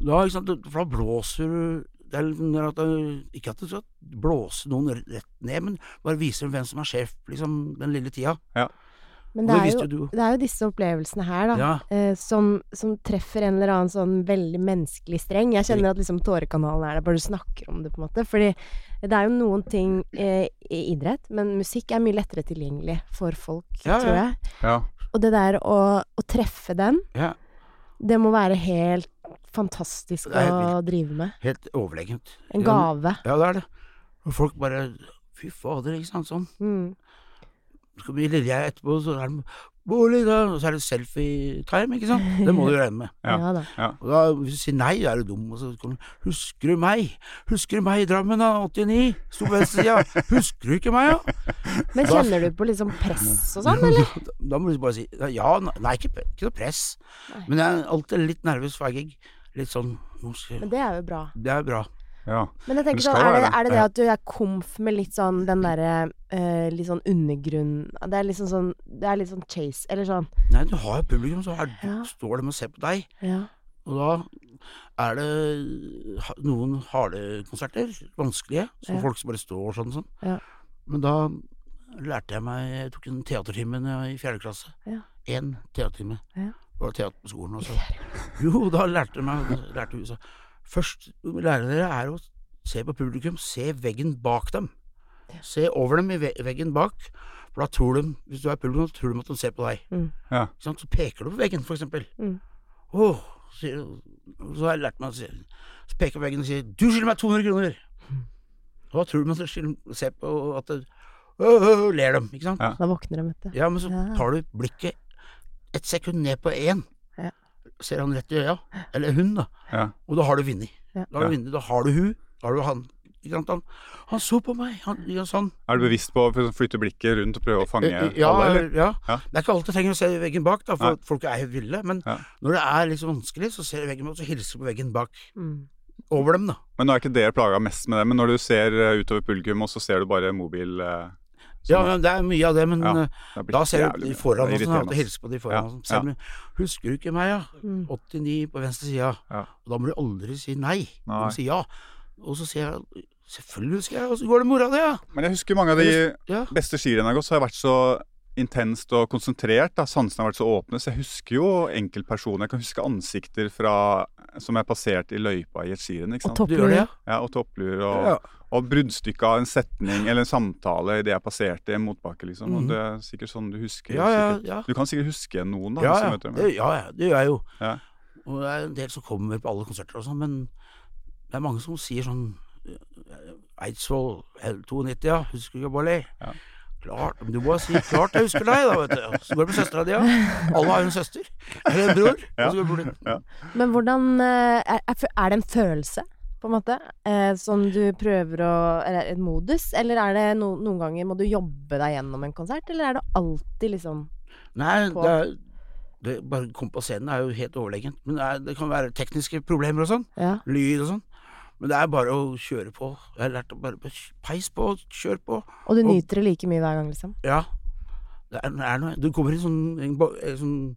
da, ikke sant, For da blåser du det er litt mer at det, Ikke at du skal blåse noen rett ned, men bare vise dem hvem som er sjef liksom, den lille tida.
Men
Og
det
det
er, jo,
visste jo du.
det er jo disse opplevelsene her, da,
Ja.
eh, som, som treffer en eller annen sånn veldig menneskelig streng. Jeg kjenner at liksom tårekanalen er der, bare du snakker om det, på en måte. Fordi det er jo noen ting eh, i idrett, men musikk er mye lettere tilgjengelig for folk,
Ja, ja.
tror jeg.
Ja.
Og det der å, å treffe den,
Ja.
det må være helt fantastisk
Det er helt
å drive med.
Helt overlegent.
En gave.
Ja, det er det. Og folk bare Fy fader, ikke sant. Sånn.
Mm.
Så blir lille jeg etterpå, så er det bolig, da, og så er det selfie-time, ikke sant? Det må du regne med.
Ja.
Ja. da.
Og da, hvis du sier nei, da er du dum, og så kommer du, Husker du meg? Husker du meg i Drammen, da? 89? Sto på venstresida. Husker du ikke meg, da?
Men kjenner du på liksom press og sånn, eller?
Da, da må du bare si ja, nei, ikke, pre- ikke noe press.
Nei.
Men jeg er alltid litt nervøs hver gig. Litt sånn nå skal,
Men det er jo bra.
Det er bra.
ja.
Men jeg
Men
tenker
det skal
sånn, er
være
det,
det.
er det det at du er komf med litt sånn den derre eh, Litt sånn undergrunn Det er liksom sånn Det er litt sånn chase, eller sånn
Nei, du har jo publikum, så er,
Ja.
står de og ser på deg.
Ja.
Og da er det ha- noen harde konserter, vanskelige, som
Ja.
folk som bare står og sånn. sånn.
Ja.
Men da lærte jeg meg Jeg tok en teatertime når jeg var i fjerde klasse.
Ja.
Én teatertime.
Ja.
Det var teater på skolen. Og så. Jo, da lærte jeg meg lærte hun seg. Først lære dere er å se på publikum, se veggen bak dem. Se over dem i ve- veggen bak, for da tror de, hvis du er publikum, så tror de at de ser på deg.
Ja.
Ikke sant? Så peker du på veggen, for eksempel.
Mm.
Åh, sier, så har jeg lært meg å si Så peker jeg på veggen og sier 'Du skylder meg 200 kroner'. Og da tror de at de ser på at det, «Åh, åh, åh», ler dem, ikke sant?
Ja.
Da våkner de, vet du.
Ja, men så
Ja.
tar du blikket et sekund ned på én.
Ja.
Ser han rett i øya? Eller hun, da.
Ja.
Og da har du vunnet.
Ja.
Da har
Ja.
du vunnet, da har du hun, da har du han. Ikke sant? Han, han så på meg! Han, ja, sånn.
Er du bevisst på å flytte blikket rundt og prøve å fange
Eh, eh, ja,
alle, eller?
ja.
Ja.
Det er ikke alltid jeg trenger å se veggen bak, da,
Nei.
for folk er helt ville. Men
Ja.
når det er litt så vanskelig, så ser jeg veggen bak, så hilser jeg på veggen bak.
Mm.
Over dem, da.
Men nå er ikke dere plaga mest med det, men når du ser eh, utover publikum, og så ser du bare mobil eh, sånn,
Ja, men det er mye av det, men
Ja.
eh,
det blir
da ser
jævlig
du de
mye.
foran
Det er
oss, og
irriterende, ass.
hilser på de foran
Ja,
oss. Selv om Husker du ikke meg, ja?
Mm.
89 på venstre sida.
Ja.
Og da må du aldri si nei. Du
Nei.
må si ja. Og så sier jeg selvfølgelig husker jeg, og så går det mora di, ja.
Men jeg husker mange av de
ja.
beste skirennene jeg har gått, så har jeg vært så intenst og konsentrert. Da. Sansene har vært så åpne. Så jeg husker jo enkeltpersoner. Jeg kan huske ansikter fra, som jeg passerte i løypa i et skirenn. ikke
Og
sant?
Du gjør det, ja.
topplue.
Ja, og topplur og,
ja.
og bruddstykke av en setning eller en samtale i det jeg passerte i en motbakke, liksom.
Mhm.
Og det er sikkert sånn du husker.
Ja, ja,
sikkert.
ja.
Du kan sikkert huske noen, da.
Ja,
hvis du
ja.
møter dem.
Det, ja, ja, det gjør jeg jo.
Ja.
Og det er en del som kommer på alle konserter og sånn, men det er mange som sier sånn eh, Eidsvoll eh, 92, ja, husker du ikke Bolly?
Ja.
Klart, men du må si 'klart jeg husker deg', da, vet du. Og Så går det med søstera di, ja. Alle har jo en søster. Eller en bror. Og så går det med broren din.
Men hvordan eh, er, er fø- er det en følelse, på en måte, eh, som du prøver å Eller en modus? Eller er det no, noen ganger må du jobbe deg gjennom en konsert, eller er det alltid liksom
Nei,
På-
det er, det, bare å komme på scenen er jo helt overlegent. Men det, er, det kan være tekniske problemer og sånn.
Ja.
Lyd og sånn. Men det er bare å kjøre på. Jeg har lært å bare bare peis på, kjør på.
Og du
Og-
nyter det like mye hver gang, liksom?
Ja. Det er, det er noe Du kommer i sånn, en, bo- en sånn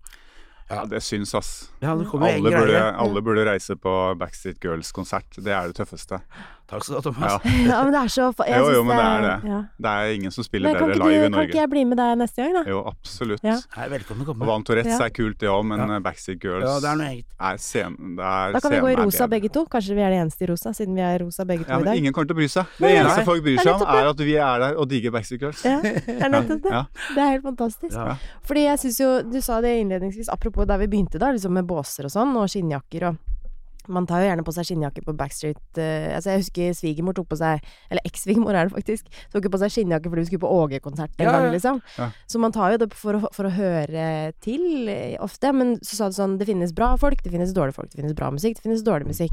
Ja, det syns, ass.
Ja, det kommer jo en
Alle burde,
greie.
alle burde reise på Backstreet Girls-konsert. Det er det tøffeste.
Takk skal du ha, Thomas.
Ja.
Ja, men det er så fa- jeg
Jo,
synes
jo, men det er det.
Ja.
Det er ingen som spiller
Men kan
bedre
ikke,
live i
du, kan ikke
Norge.
jeg bli med deg neste gang, da?
Jo, absolutt.
Ja.
Nei, velkommen å
Og
komme.
Van Tourettes
Ja.
er kult, det òg, men
Ja.
eh, Backstreet Girls
Ja, det er noe eget.
er scenen det er
Da kan vi gå i
scenen er
rosa
bedre.
begge to. Kanskje vi er de eneste i rosa, siden vi er i rosa begge to
Ja,
i
men
dag.
ingen kommer til å bry seg. Det
Nei,
eneste
nei.
folk bryr
Det er
seg om,
nettopp det.
er at vi er der og digger Backstreet Girls.
Ja, det er nettopp det.
Ja.
Det er helt fantastisk.
Ja.
Fordi jeg synes jo, du sa det innledningsvis, apropos der vi begynte da, liksom med båser og sånn, og skinnjakker og man tar jo gjerne på seg skinnjakke på Backstreet eh, Altså, jeg husker svigermor tok på seg Eller eks-svigermor er det faktisk. Tok jo på seg skinnjakke fordi hun skulle på Åge-konsert en
Ja,
gang,
ja.
liksom.
Ja.
Så man tar jo det for å, for å høre til eh, ofte. Men så sa du sånn Det finnes bra folk, det finnes dårlige folk, det finnes bra musikk, det finnes dårlig musikk.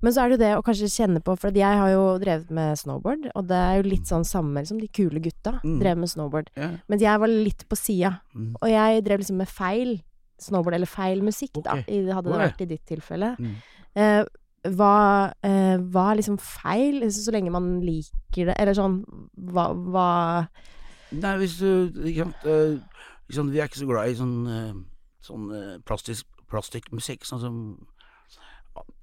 Men så er det jo det å kanskje kjenne på For jeg har jo drevet med snowboard, og det er jo litt sånn samme liksom, De kule gutta
Mm.
drev med snowboard.
Ja.
Mens jeg var litt på sida.
Mm.
Og jeg drev liksom med feil snowboard, eller feil musikk, da,
Ok.
i- hadde det
Oi.
vært i ditt tilfelle.
Mm.
Eh, hva eh, var liksom feil, så, så lenge man liker det, eller sånn hva, hva
Nei, hvis du ikke sant, eh, ikke sant, Vi er ikke så glad i sånn, eh, sånn eh, plastisk, plastikkmusikk, sånn som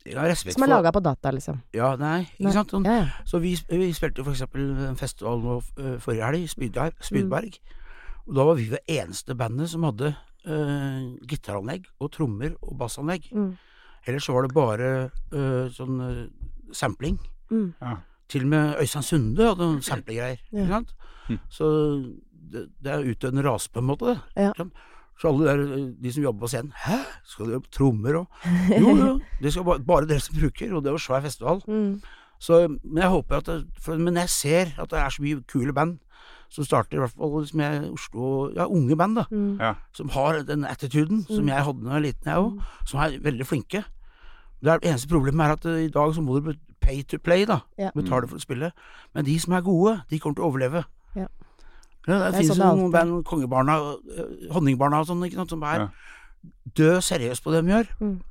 Jeg har respekt
Som er
for-
laga på data, liksom.
Ja, nei, ikke
Nei.
sant. Sånn,
Ja, ja.
Så vi, vi spilte jo for eksempel en festival nå eh, forrige helg, Spydberg.
Mm.
Spydberg. Og da var vi det eneste bandet som hadde eh, gitaranlegg og trommer og bassanlegg.
Mm.
Ellers så var det bare eh, sånn eh, sampling.
Mm.
Ja.
Til og med Øystein Sunde hadde noen samplegreier.
Ja.
Ikke sant?
Mm.
Så det, det er utdøende rase, på en måte. det.
Ja.
Ikke sant? Så alle der, eh, de som jobber på scenen Hæ, skal dere ha trommer og Jo, jo, det skal bare, bare dere som bruker. Og det var svær festival.
Mm.
Så, men jeg håper at det, for, Men jeg ser at det er så mye kule band som starter, i hvert fall som jeg, Oslo Ja, unge band, da.
Mm.
Ja.
Som har den attituden som jeg hadde da jeg var liten, jeg
Mm.
òg. Som er veldig flinke. Det er, eneste problemet er at eh, i dag så må du bet- pay to play, da.
Ja.
Betale for å spille. Men de som er gode, de kommer til å overleve.
Ja.
Ja, det,
Det er
finnes
sånn
jo
det
noen band, Kongebarna, eh, Honningbarna og sånn, ikke sant, som er
Ja.
død seriøs på det de gjør,
Mm.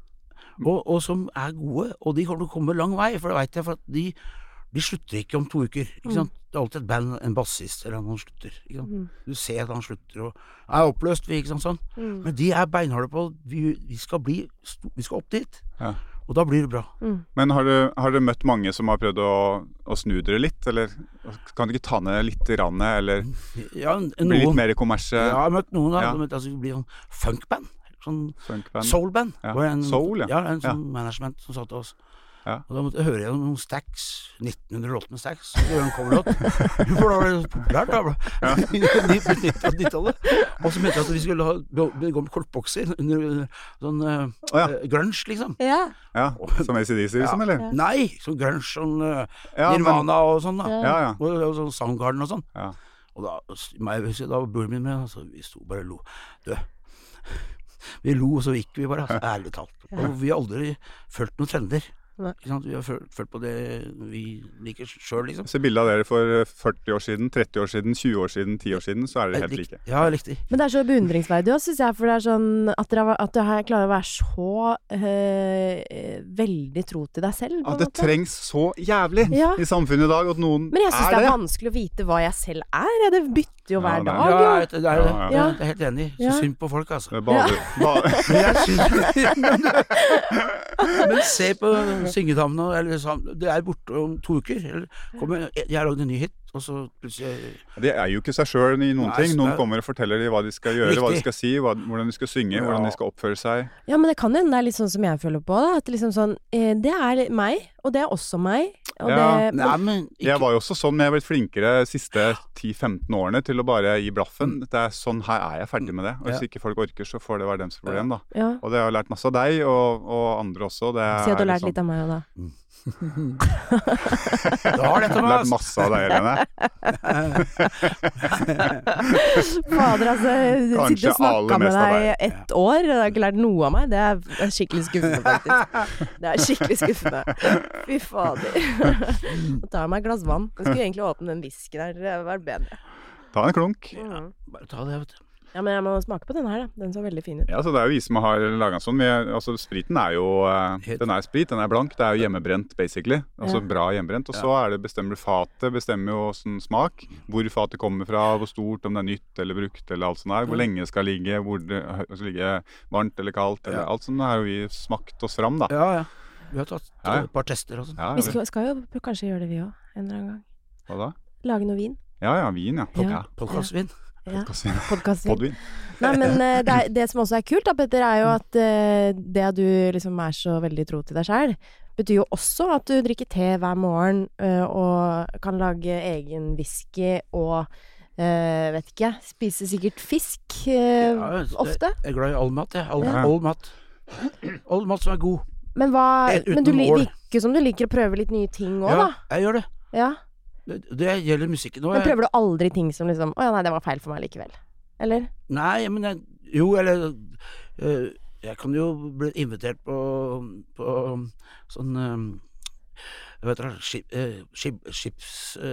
og, og som er gode, og de kommer til å komme lang vei, for det veit jeg, for at de, de slutter ikke om to uker. Ikke sant? Det er alltid et band, en bassist eller noen slutter. Ikke sant? Du ser at han slutter og er oppløst, vi, ikke sant, sånn.
Mm.
Men de er beinharde på vi, vi skal bli sto- Vi skal opp dit,
Ja.
og da blir det bra.
Men har du, har du møtt mange som har prøvd å, å snu dere litt, eller kan du ikke ta ned litt, grann, eller
Ja, n-
bli litt
noen,
mer i kommersiet?
jeg har møtt noen da,
Ja.
men altså, det blir sånn funkband. Sånn
Funkband?
Soulband.
Ja.
var En,
Soul, ja.
en
Ja.
sånn management som sa til oss.
Ja.
Og da måtte jeg høre gjennom noen stacks, 1900 låter med stacks, og gjøre en coverlåt. For da var det populært, da. Ja. på 90-tallet. Og så mente jeg at vi skulle ha, gå gå med kortbokser under under sånn eh,
Å, ja.
eh, grunge, liksom.
ja.
Ja, som ACDC, liksom, eller?
Nei, sånn grunge, sånn eh,
Ja, men-
Nirvana og sånn, da.
Ja, ja.
Og, og sånn Soundgarden og sånn.
Ja.
Og da, meg, husker jeg, da var broren min med, altså, vi sto bare og lo. Du, vi lo, og så gikk vi bare, altså, ærlig talt. Og vi har aldri følt noen trender.
Nei.
Ikke sant? Vi har følt, følt på det vi liker sjøl, liksom.
Jeg ser bilde av dere for 40 år siden, 30 år siden, 20 år siden, 10 år siden, så er dere helt
Lik-
like.
Ja, riktig.
Men det er så beundringsverdig òg, syns jeg. For det er sånn at dere har- at du her klarer å være så eh, eh, veldig tro til deg selv. på
At
en
det
måte.
trengs så jævlig
Ja.
i samfunnet i dag at noen
Men jeg syns det
er
er
det.
vanskelig å vite hva jeg selv er. jeg. Det bytter jo
Ja,
hver
det er-
dag.
ja,
jo.
jeg vet det, det er det.
Ja, ja.
Jeg er helt enig. Så
Ja.
synd på folk, altså.
Det bader, ba-
Men, jeg syns- Men se på syngedamene, eller sånn, det er borte om to uker. Eller, kommer, jeg har lagd en ny hit, og så plutselig
De er jo ikke seg sjøl i noen
Nei,
ting. Noen
det-
kommer og forteller dem hva de skal gjøre, hva de skal
Riktig.
si, hva, hvordan de skal synge, hvordan de skal oppføre seg.
Ja, men det kan hende det er litt sånn som jeg føler på det. At liksom sånn eh, Det er litt meg, og det er også meg. Og
Ja,
det,
Nei, men ikke,
Jeg var jo også sånn, men jeg har blitt flinkere de siste 10-15 årene til å bare gi blaffen. Det er sånn, her er jeg ferdig med det. Og hvis
Mm. Ja.
ikke folk orker, så får det være deres problem, da.
ja.
Og det har jeg lært masse av deg, og, og andre også. Det
Si at du
er
har lært
liksom-
litt av meg òg, da.
du har det, Thomas.
Lært masse av deg, Helene.
Fader, altså. Sitte
Kanskje
og
aller
snakka med
mest av
deg i
deg.
ett år, og du har ikke lært noe av meg. Det er, det er skikkelig skuffende, faktisk. Det er skikkelig skuffende. Fy fader. Ta meg et glass vann. Jeg skulle egentlig åpne den whisky der. Det hadde vært bedre.
Ta en klunk.
Mm.
Bare ta det, vet du.
Ja, Ja, men jeg må smake på denne her, da. Den så veldig fin ut.
Ja, så Det er jo vi som har laga sånn. men altså, spriten er jo eh,
Helt-
Den er sprit, den er blank. Det er jo hjemmebrent, basically. Altså
Ja.
bra hjemmebrent. Og så er det bestemmer du fatet, bestemmer jo åssen smak. Hvor fatet kommer fra, hvor stort, om det er nytt eller brukt eller alt sånt der. Hvor lenge det skal ligge, hvor det skal ligge varmt eller kaldt eller
Ja.
alt sånt. Det har jo vi smakt oss fram, da.
Ja, ja. Vi har tatt
Ja, ja.
et par tester og sånn.
Ja,
Vi
ja,
skal, skal jo kanskje gjøre det, vi òg. En eller annen gang.
hva da?
Lage noe vin.
Ja ja, vin, ja.
Ja.
ja.
Podkastvin.
Ja.
Podkastvin.
Podkastvin.
Podvin.
Nei, men eh, det, er, det som også er kult, da, Petter, er jo at eh, det at du liksom er så veldig tro til deg sjæl, betyr jo også at du drikker te hver morgen eh, og kan lage egen whisky og eh, vet ikke, spiser sikkert fisk eh,
Ja, altså, det-
ofte.
Jeg er glad i all mat, jeg. All,
Ja.
all mat. All mat som er god.
Men, hva,
Helt uten
men du li-
mål.
virker som du liker å prøve litt nye ting òg,
Ja,
da.
jeg gjør det.
Ja.
Det, det gjelder musikken òg.
Men prøver du aldri ting som liksom Å ja, nei, det var feil for meg likevel. Eller?
Nei, men jeg, jo, eller eh, Jeg kan jo bli invitert på, på sånn eh, Vet dere, skip, eh, skip,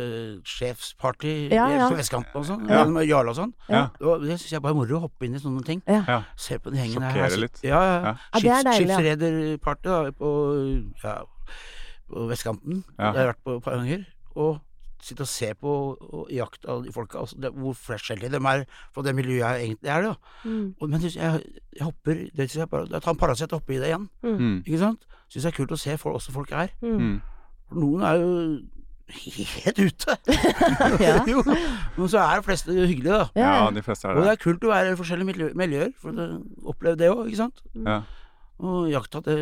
skipssjefsparty
Ja, ja.
på vestkanten og sånn.
Ja.
Med Jarle og sånn.
Ja.
Og det syns jeg bare er moro å hoppe inn i sånne ting.
Ja.
Ja.
Se på den gjengen her.
Sjokkere
Her sit-
litt.
Ja, ja.
Ja.
Ja, det er
Skips-
deilig, ja.
Skipsrederparty da, på, ja, på vestkanten.
Ja.
Det har jeg vært på et par ganger. Og sitte og se på og jakta de folka. Altså, det, hvor forskjellige de er fra det miljøet jeg egentlig er. Da.
Mm.
Og, men jeg, jeg, jeg hopper det synes jeg bare, Jeg tar en Paracet og hopper i det igjen.
Mm.
Ikke sant? Syns det er kult å se for, hvordan folk er.
Mm.
Mm.
For noen er jo helt ute.
Ja.
jo. Men så er de fleste hyggelige, da.
Ja.
Ja, de fleste er
Og det
det.
er kult å være i forskjellige miljø- miljøer, for å oppleve det òg, ikke sant?
Ja.
Og jakta det,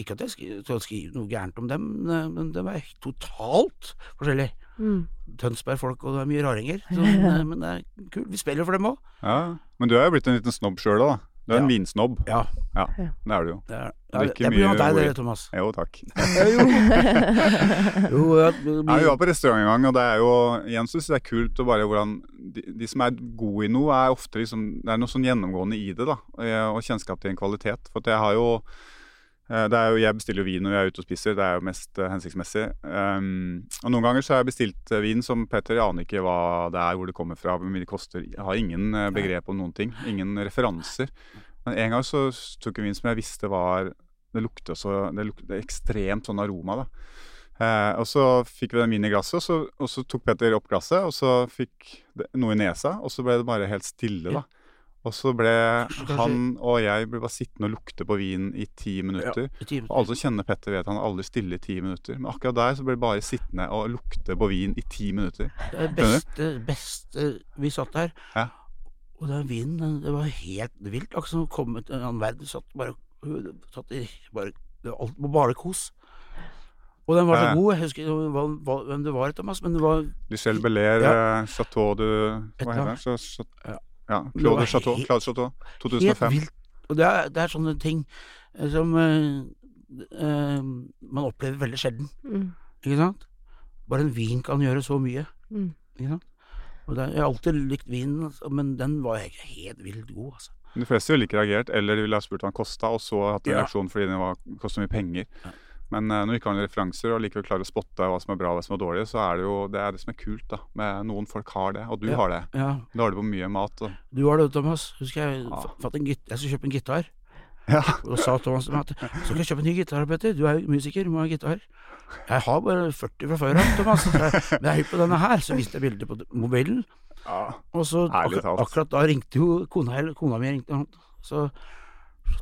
Ikke at jeg skri- skal skrive noe gærent om dem, men men de er totalt forskjellige.
Mm.
Tønsberg-folk, og det er mye raringer. Så, men men det er kult. Vi spiller for dem òg.
ja. Men du er jo blitt en liten snobb sjøl òg, da. Du er en
Ja.
vinsnobb.
Ja.
Ja,
Ja.
det er du jo.
Det er,
Det er ikke
det er på grunn av
mye
deg,
ord.
det, Thomas.
Jo, takk.
Jo, ja, det
Nei, vi
blir-
var på restaurant en gang, og det er jo igjen synes jeg det er kult og bare hvordan de, de som er gode i noe, er ofte liksom Det er noe sånn gjennomgående i det, da. eh, Og kjennskap til en kvalitet. For at jeg har jo eh, det er jo, Jeg bestiller jo vin når jeg er ute og spiser, det er jo mest eh, hensiktsmessig. Ehm, og noen ganger så har jeg bestilt eh, vin som Petter jeg aner ikke hva det er, hvor det kommer fra, hvor mye det koster. Jeg har ingen eh, begrep om noen ting. Ingen referanser. Men en gang så tok jeg vin som jeg visste var Det lukter så Det lukter ekstremt sånn aroma, da. Eh, og så fikk vi den vinen i glasset, og så, og så tok Petter opp glasset, og så fikk det noe i nesa, og så ble det bare helt stille, da. Og så ble
Kanskje-
han og jeg ble bare sittende og lukte på vinen i ti minutter.
I timen.
Og alle som kjenner Petter, vet han er aldri stille i ti minutter. Men akkurat der så ble det bare sittende og lukte på vin i ti minutter.
Det beste, beste Vi satt der,
Ja.
og den vinen den- det var helt vilt. Akkurat som å komme til en annen verden. Satt bare, satt i, bare det var alt, bare kos. Og den var
Ja, ja.
så god. Jeg husker ikke hva- hva- hvem det var, Thomas, men det var
Michel Belair,
Ja.
eh, Chateau du
Et
Hva
eller
heter
annet.
det? Så- så-
Ja.
Ja,
Det var
Claude Chateau.
helt-
Claude Chateau,
helt
2005.
vilt. Og det er, det er sånne ting eh, som eh, eh, man opplever veldig sjelden,
Mm.
ikke sant? Bare en vin kan gjøre så mye,
Mm.
ikke sant? Og det, er- jeg har alltid likt vinen, altså, men den var helt, helt vilt god, altså.
De fleste ville ikke reagert, eller de ville ha spurt hva den kosta, og så hatt en
Ja.
reaksjon fordi den var- kostet mye penger.
Ja.
Men eh, når vi ikke har noen referanser og likevel klarer å spotte hva som er bra og hva som er dårlig, så er det jo det, er det som er kult. da. Med Noen folk har det, og du
Ja.
har det.
Ja,
Du har det på mye mat. Og...
Du var det, Thomas. Husker jeg
Ja.
f- fant en git Jeg skulle kjøpe en gitar.
Ja.
Og da sa Thomas til meg at så kan jeg kjøpe en ny gitar, Petter. Du er jo musiker, du må ha gitar. Jeg har bare 40 fra før av, Thomas. Jeg- Men jeg er hypp på denne her. Så viste jeg bildet på mobilen, og så
Ærlig
akkurat,
talt.
akkurat da ringte jo kona, eller kona mi ringte, og så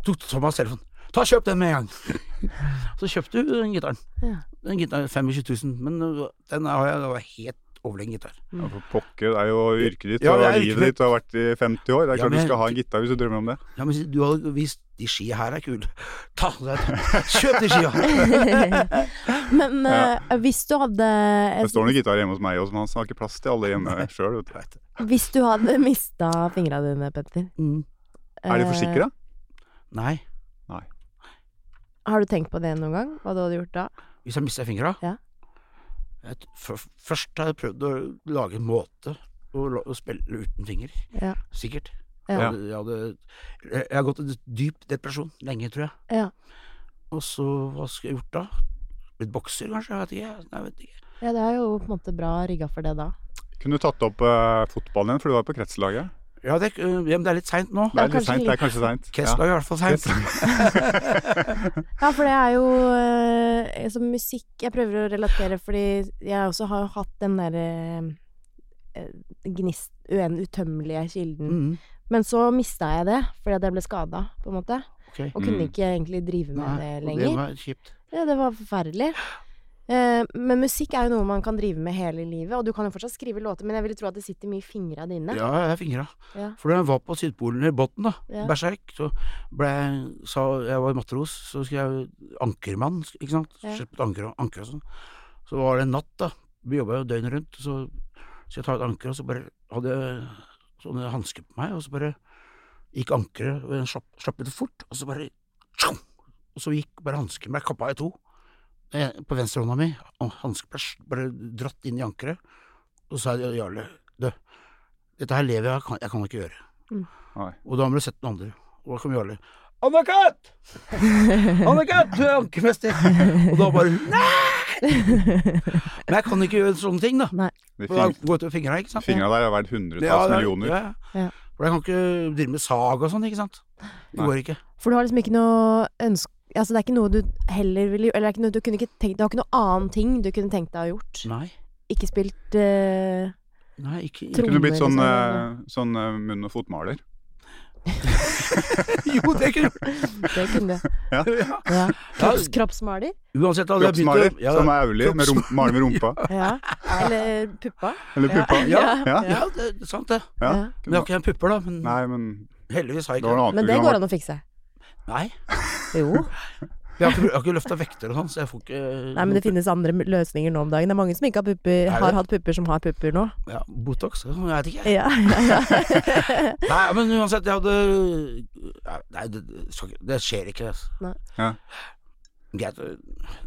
tok Thomas telefonen. Ta og kjøp den med en gang! Så kjøpte hun den gitaren.
Ja.
Den gitaren 25 000, men øh, den har jeg, det var helt overlegen gitar.
Ja, for pokker, det er jo yrket ditt
Ja,
og
det er yrket
livet ditt, du har vært i 50 år. Det er
Ja,
klart
men-
du skal ha en gitar hvis du drømmer om det.
Ja, men du har vist De skia her er kule. Ta deg Kjøp de skia!
Men
Ja.
eh, hvis du hadde
Det står noen gitarer hjemme hos meg også, men han har ikke plass til alle hjemme sjøl.
Hvis du hadde mista fingra dine, Petter
Mm.
Er de forsikra?
Nei.
Eh, har du tenkt på det noen gang? Hva du hadde gjort da?
Hvis jeg mister fingra
Ja.
Jeg t- f- Først har jeg prøvd å lage en måte å, la- å spille uten finger.
Ja.
Sikkert. Jeg,
Ja.
hadde, jeg, hadde, jeg har gått i dyp depresjon lenge, tror jeg.
Ja.
Og så hva skulle jeg gjort da? Blitt bokser, kanskje? Jeg vet ikke. Nei, jeg vet ikke.
Ja, det er jo på en måte bra rigga for det da.
Kunne du tatt opp eh, fotballen igjen, for du var jo på kretslaget?
Ja, det, er ikke- øh, ja, men det er litt seint nå.
Det er
kanskje
litt seint. Det er kanskje seint.
Kessler er i hvert fall seint.
Ja, for det er jo eh, som musikk Jeg prøver å relatere, fordi jeg også har hatt den derre eh, gnist uen- Utømmelige kilden.
Mm.
Men så mista jeg det, fordi at jeg ble skada, på en måte.
ok.
Og kunne
Mm.
ikke egentlig drive med
Nei,
det
og
lenger.
det var kjipt.
Ja, det var forferdelig. Eh, Men musikk er jo noe man kan drive med hele livet, og du kan jo fortsatt skrive låter, men jeg ville tro at det sitter mye i fingra dine.
Ja, jeg er fingra.
Ja.
For da jeg var på Sydpolen i Botn, da,
Ja.
berserk, så ble jeg sa, Jeg var matros, så skrev jeg ankermann, ikke sant.
Ja.
Slipp et anker, og- anker og sånn. Så var det en natt, da. Vi jobba jo døgnet rundt, så skal jeg ta et anker, og så bare hadde jeg sånne hansker på meg, og så bare gikk ankeret, og den slapp, slapp litt fort, og så bare tjong! Og så gikk bare hansken ble kappa i to. Eh, På venstrehånda mi, og hansken ble s- bare dratt inn i ankeret, og så sa jeg til Jarle, du, dette her lever jeg, jeg kan, jeg kan ikke gjøre. Og da må du sett den andre. Og da kom Jarle. Anne-Kat! Anne-Kat, du er ankermester! Og da bare Nei! Men jeg kan ikke gjøre sånne ting, da.
De
For da
fing-
går det til fingra, ikke sant?
Fingra der er verdt
Ja,
hundretalls
det er-
millioner.
ja,
Ja.
ja. For jeg kan ikke drive med sag og sånn, ikke sant? Det
Nei.
går ikke.
For du har liksom ikke noe ønske Altså, det er ikke noe du heller ville gjort Eller det er ikke noe, du, kunne ikke tenkt, du har ikke noe annen ting du kunne tenkt deg å ha gjort.
Nei.
Ikke spilt eh,
Nei, ikke
Tro-
Kunne blitt sånn,
Trommer,
eh, sånn eh, munn- og fotmaler.
Jo, det kunne jeg
Det kunne du.
gjort.
Ja. Kropps,
Ja.
kroppsmaler.
Uansett, hadde jeg begynt
Kroppsmaler
å ja,
som er Auli, med rum, maler med rumpa.
Ja. Eller eh, puppa.
Eller
Ja.
puppa.
Ja.
Ja.
ja, det er sant, det.
Ja.
Ja.
Men jeg har ikke en pupper, da. Men
Nei, men
heldigvis har jeg
det
ikke
var noe
det.
annet
Men det går
program.
an å fikse.
Nei.
Jo.
Jeg har ikke, jeg har ikke løfta vekter og sånn, så jeg får ikke
Nei, men det finnes andre m- løsninger nå om dagen. Det er mange som ikke har pupper,
det?
har hatt pupper som har pupper nå.
ja, Botox? sånn. Jeg vet ikke.
Ja, ja, ja.
Nei, men uansett, jeg hadde Nei, det, skal ikke- det skjer ikke. Altså.
Nei.
Ja.
Greit. øh,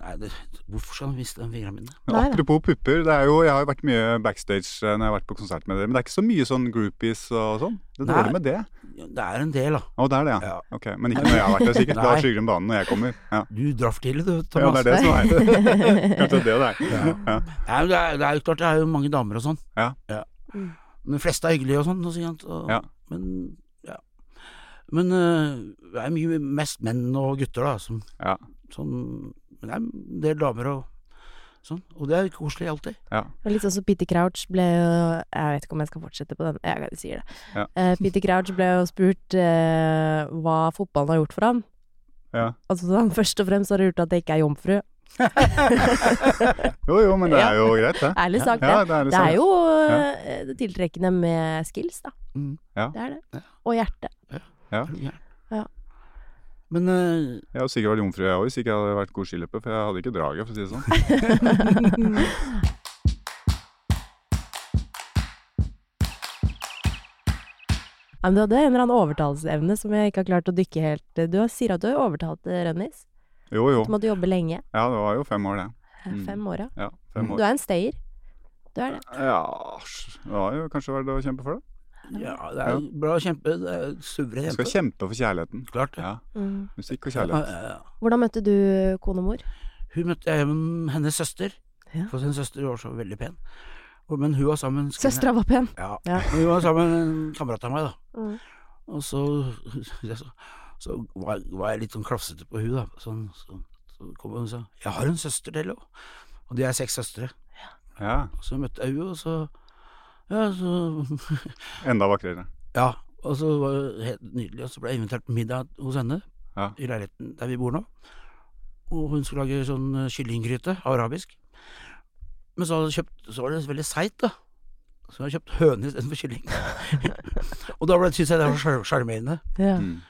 Nei, det, hvorfor skal han miste de fingrene mine?
Men
Nei da.
apropos pupper, det er jo, jeg har jo vært mye backstage eh, når jeg har vært på konsert med dere, men det er ikke så mye sånn groupies og sånn. Det er
Nei.
dårlig med det.
Det er en del, da.
Å, det er det, ja.
Ja.
Ok, Men ikke når jeg har vært der, sikkert. Da
Nei.
skygger de banen når jeg kommer. Ja,
Du drar for tidlig, du,
ja
Thomas.
det er det som er Kanskje det er det er. Ja.
Nei, men det, er, det er jo klart, det er jo mange damer og sånn.
Ja.
Mm.
Men de fleste er hyggelige og sånn. og sånt, og,
Ja.
Men ja. Men øh, det er mye mest menn og gutter, da. Som,
Ja.
sånn, men det er en del damer og sånn. Og det er koselig alltid.
Og litt sånn som Peter Crouch ble jo Jeg vet ikke om jeg skal fortsette på den, jeg sier det.
Ja.
Eh, Peter Crouch ble jo spurt eh, hva fotballen har gjort for ham.
Ja.
Og så sa han først og fremst har det gjort at jeg ikke er jomfru.
Jo jo, men det er jo greit, det.
Ærlig sagt,
Ja,
det.
det er
Det er
liksom
jo eh, det tiltrekkende med skills, da.
Mm.
Ja.
Det er
Ja.
det. Og hjerte.
Er du gæren?
Ja.
Men øh,
Jeg hadde sikkert vært jomfru jeg òg hvis ikke jeg hadde vært god skiløper, for jeg hadde ikke draget, for å si det sånn.
Ja, men du hadde en eller annen overtalelsesevne som jeg ikke har klart å dykke helt eh, Du har- sier at du har overtalt eh, Rønnis.
Jo jo.
Du måtte jobbe lenge.
Ja, det var jo fem år, det. Mm.
Fem år, ja.
Ja, fem
Mm. Du
år.
er en stayer. Du er det.
Ja, det har jo kanskje vært å kjempe for det.
ja, det er jo bra kjempe. Det er suveren
Du skal
jente.
kjempe for kjærligheten.
Klart det.
Ja.
Mm.
Musikk og
Ja,
kjærlighet.
ja, ja.
Hvordan møtte du konemor?
Hun møtte jeg gjennom hennes søster.
Ja.
For sin søster var så veldig pen. Og- Men hun var sammen
Søstera var pen.
Ja.
Ja.
Men Hun var sammen med en kamerat av meg, da.
Mm.
Og så, så, så var, var jeg litt sånn klafsete på hun da. Sånn, så, så kom hun og sa 'Jeg har en søster til òg'. Og de er seks søstre.
Ja,
Og så møtte jeg hun og så Ja, så
Enda vakrere.
Ja, og så var det helt nydelig, og så ble jeg invitert på middag hos henne
Ja.
i leiligheten der vi bor nå. Og hun skulle lage sånn eh, kyllinggryte, arabisk. Men så, hadde jeg kjøpt, så var det veldig seigt, da. Så jeg hadde kjøpt høne istedenfor kylling. og da ble- syntes jeg det var sjar- sjarmerende.
Ja.
Mm.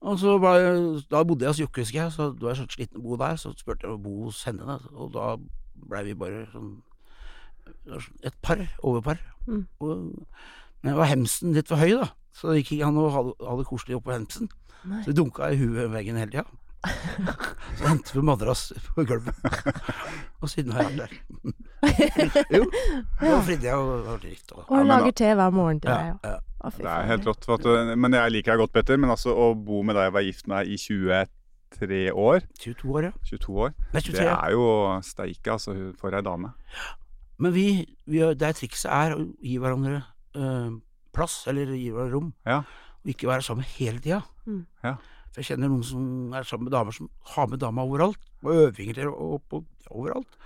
Og så ble, da bodde jeg hos Jokke, husker jeg, så da var jeg så sliten av å bo der, så spurte jeg om å bo hos henne, da. og da blei vi bare sånn et par, overpar.
Mm.
Og, men var hemsen litt for høy, da, så det gikk ikke an å ha, det- ha det koselig oppå hemsen.
Nei.
Så vi dunka i huet i veggen hele tida. Så hentet vi madrass på gulvet. Og siden har jeg vært der. jo. Da fridde jeg og var dritt. Og,
Og hun
Ja, men
lager te hver morgen til
ja,
deg.
ja.
Å, fy
Det er
faen.
helt rått. For at, du- men jeg liker deg godt, Petter. Men altså å bo med deg jeg var gift med deg i 23 år,
22 år, ja.
22 år,
Nei, 23.
det er jo steike, altså, for ei dame.
Men vi, vi, det er trikset er å gi hverandre eh, plass, eller gi meg rom.
Ja.
Og ikke være sammen hele tida.
Mm.
Ja.
For jeg kjenner noen som er sammen med damer som har med dama overalt. På øvinger og på ja, overalt.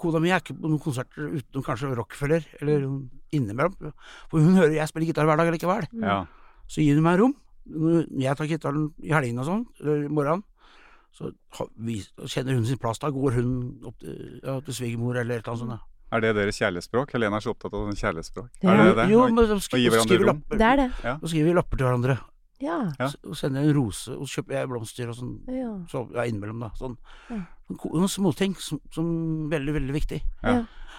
Kona mi er ikke på noen konserter utenom kanskje Rockefeller, eller noen innimellom. For hun hører jeg spiller gitar hver dag likevel.
ja.
Så gir hun meg rom. Når jeg tar gitaren i helgene og sånn, eller i morgenen, så har vi- så kjenner hun sin plass. Da går hun opp til, ja, til svigermor eller et eller annet sånt. da.
Er det deres kjærlighetsspråk? Helene er så opptatt av sånn kjærlighetsspråk.
Ja.
Er det det?
Jo, men de sk-
gi hverandre
skriver
rom.
lapper.
Det er det.
Så skriver vi lapper til hverandre.
Ja.
Ja.
S- Og sender en rose, og så kjøper jeg blomster og sånn.
ja.
Så, ja, innimellom, da. Sånn.
Ja.
Sånn ko- Noen småting som, som er veldig, veldig viktig.
Ja.
Ja.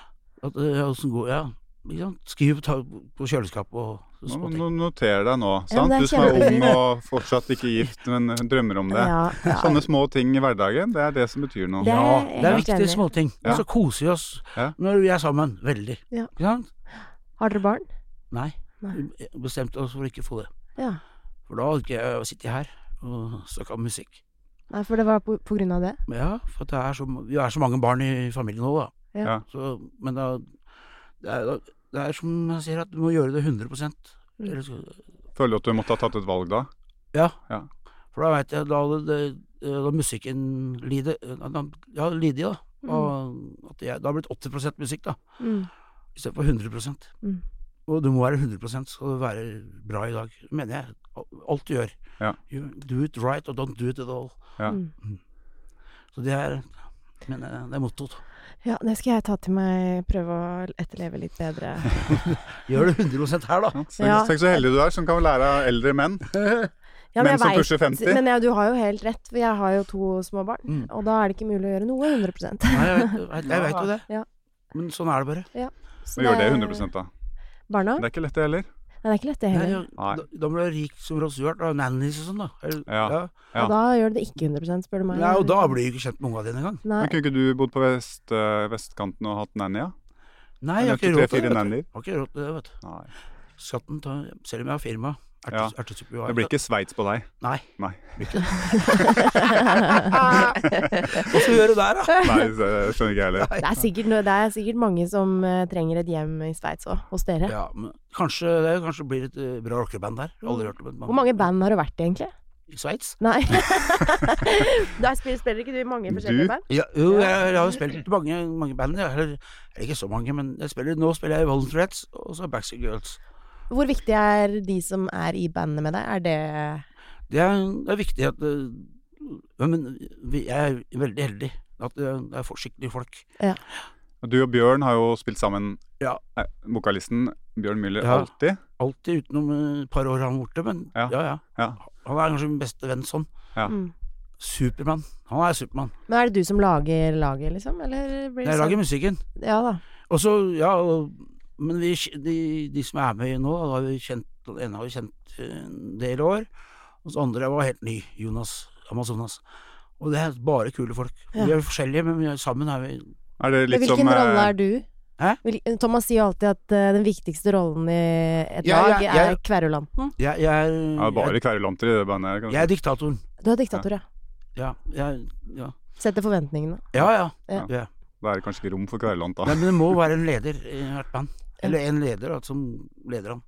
At, eh, ja, hvordan går, ja. Ikke sant? Skriv ta, på kjøleskapet og
Nå,
småting.
nå noter deg nå.
Ja,
Sant?
men
Du
det er
som er ung
kjempefint.
og fortsatt ikke gift, men drømmer om det.
Ja, ja.
Sånne små ting i hverdagen, det er det som betyr noe.
Det er
Ja,
jeg
det er
helt
viktige
enig i.
småting.
Ja.
Og så koser vi oss
Ja.
når vi er sammen. Veldig.
Ja.
Ikke sant?
Har dere barn?
Nei,
Nei.
vi bestemte oss for ikke å få det.
Ja.
For da hadde ikke jeg sittet her og snakka om musikk.
Nei, for det var på, på grunn av det?
Men ja, for det er så, vi er så mange barn i familien nå, da.
Ja.
Ja.
Så, men da det er, det er som jeg sier, at du må gjøre det 100
Mm.
Eller så-
Føler du at du måtte ha tatt et valg da?
Ja.
Ja.
For da veit jeg Da hadde det, eh, da musikken lider Ja, lidig, da. Og at jeg, det har blitt 80 musikk, da.
Mm.
Istedenfor 100
Mm.
Og du må være 100 skal du være bra i dag, mener jeg. Alt du gjør.
Ja.
You do it right og don't do it at all.
Ja.
Mm.
Så det er men eh, det er mottoet.
Ja, det skal jeg ta til meg. Prøve å etterleve litt bedre.
Gjør det 100 her, da.
Tenk,
Ja.
tenk så heldig du er som kan lære av eldre menn.
Ja,
Menn
jeg
som
vet-
pusher 50.
Men ja, du har jo helt rett, for jeg har jo to små barn.
Mm.
Og da er det ikke mulig å gjøre noe 100
Nei, jeg vet, jeg, jeg vet jo det.
Ja.
Men sånn er det bare.
Så
Og gjør det 100 da.
Barna?
Det
Nei,
er ikke lett det heller.
det er ikke lett, det
Nei,
heller.
ja, da, da blir du rik som Ross Stewart og nannies og sånn, da. Eller,
Ja. ja.
Og da gjør det ikke 100 spør du meg.
Nei, og da blir du ikke kjent med unga dine engang.
Nei.
Men kunne ikke du bodd på vest, eh, vestkanten og hatt nanny, ja?
Nei, jeg har ikke
Eller
råd
tre-fire
til det. vet
nannier.
du. Har ikke råd til det, vet du.
Nei.
Skatten tar Selv om jeg har firma.
Ja.
ertes- ertesuppe jo
Det
har
blir
jeg.
ikke Sveits på deg.
Nei.
Nei.
Hva skal vi gjøre der, da?
Nei, det skjønner ikke jeg heller.
Det er, sikkert, noe- det er sikkert mange som eh, trenger et hjem i Sveits òg, hos dere.
Ja, men kanskje det kanskje blir et eh, bra rockeband der. Jeg har Aldri hørt om et band.
Hvor mange band har du vært i, egentlig?
I Sveits?
Nei. Der spiller, spiller ikke du i mange
Du?
forskjellige band?
Ja, jo, jeg, jeg har jo spilt i mange, mange band. Jeg, eller, eller ikke så mange, men jeg spiller, nå spiller jeg i Volunteer Reds og så Backstreet Girls.
Hvor viktig er de som er i bandet med deg? Er det
Det er, det er viktig at eh, ja, Men vi- jeg er veldig heldig at eh, jeg får skikkelig folk.
Du og Bjørn har jo spilt sammen,
Ja.
eh, vokalisten Bjørn Müller,
Ja.
alltid.
Alltid utenom eh, et par år han er borte, men
Ja.
ja. ja,
Ja.
Han er kanskje min beste venn sånn.
Ja.
Mm.
Supermann. Han er Supermann.
Men er det du som lager laget, liksom? Eller blir det
Jeg lager musikken.
sånn? Ja da.
Og så, ja og- Men vi, de, de som er med nå, da, har vi kjent Den ene har vi kjent en del år. Og så andre var helt ny. Jonas Amazonas. Og det er bare kule folk.
Ja.
Vi er forskjellige, men vi er, sammen er vi
Er
Men
det litt
Hvilken
som eh,
rolle er du?
Hæ?
Hvil- Thomas sier jo alltid at eh, den viktigste rollen i et
Ja,
lag
ja, jeg-
er kverulanten.
Jeg, jeg, er,
ja, Bare
jeg,
kverulanter i det bandet her. kan du
jeg er
si.
diktatoren.
Du er diktator, ja.
Ja, jeg, ja.
Setter forventningene.
Ja, ja.
Ja.
ja.
Da er det kanskje ikke rom for kverulant, da.
Nei, men det må være en leder i hvert band. Eller en leder da, som leder han.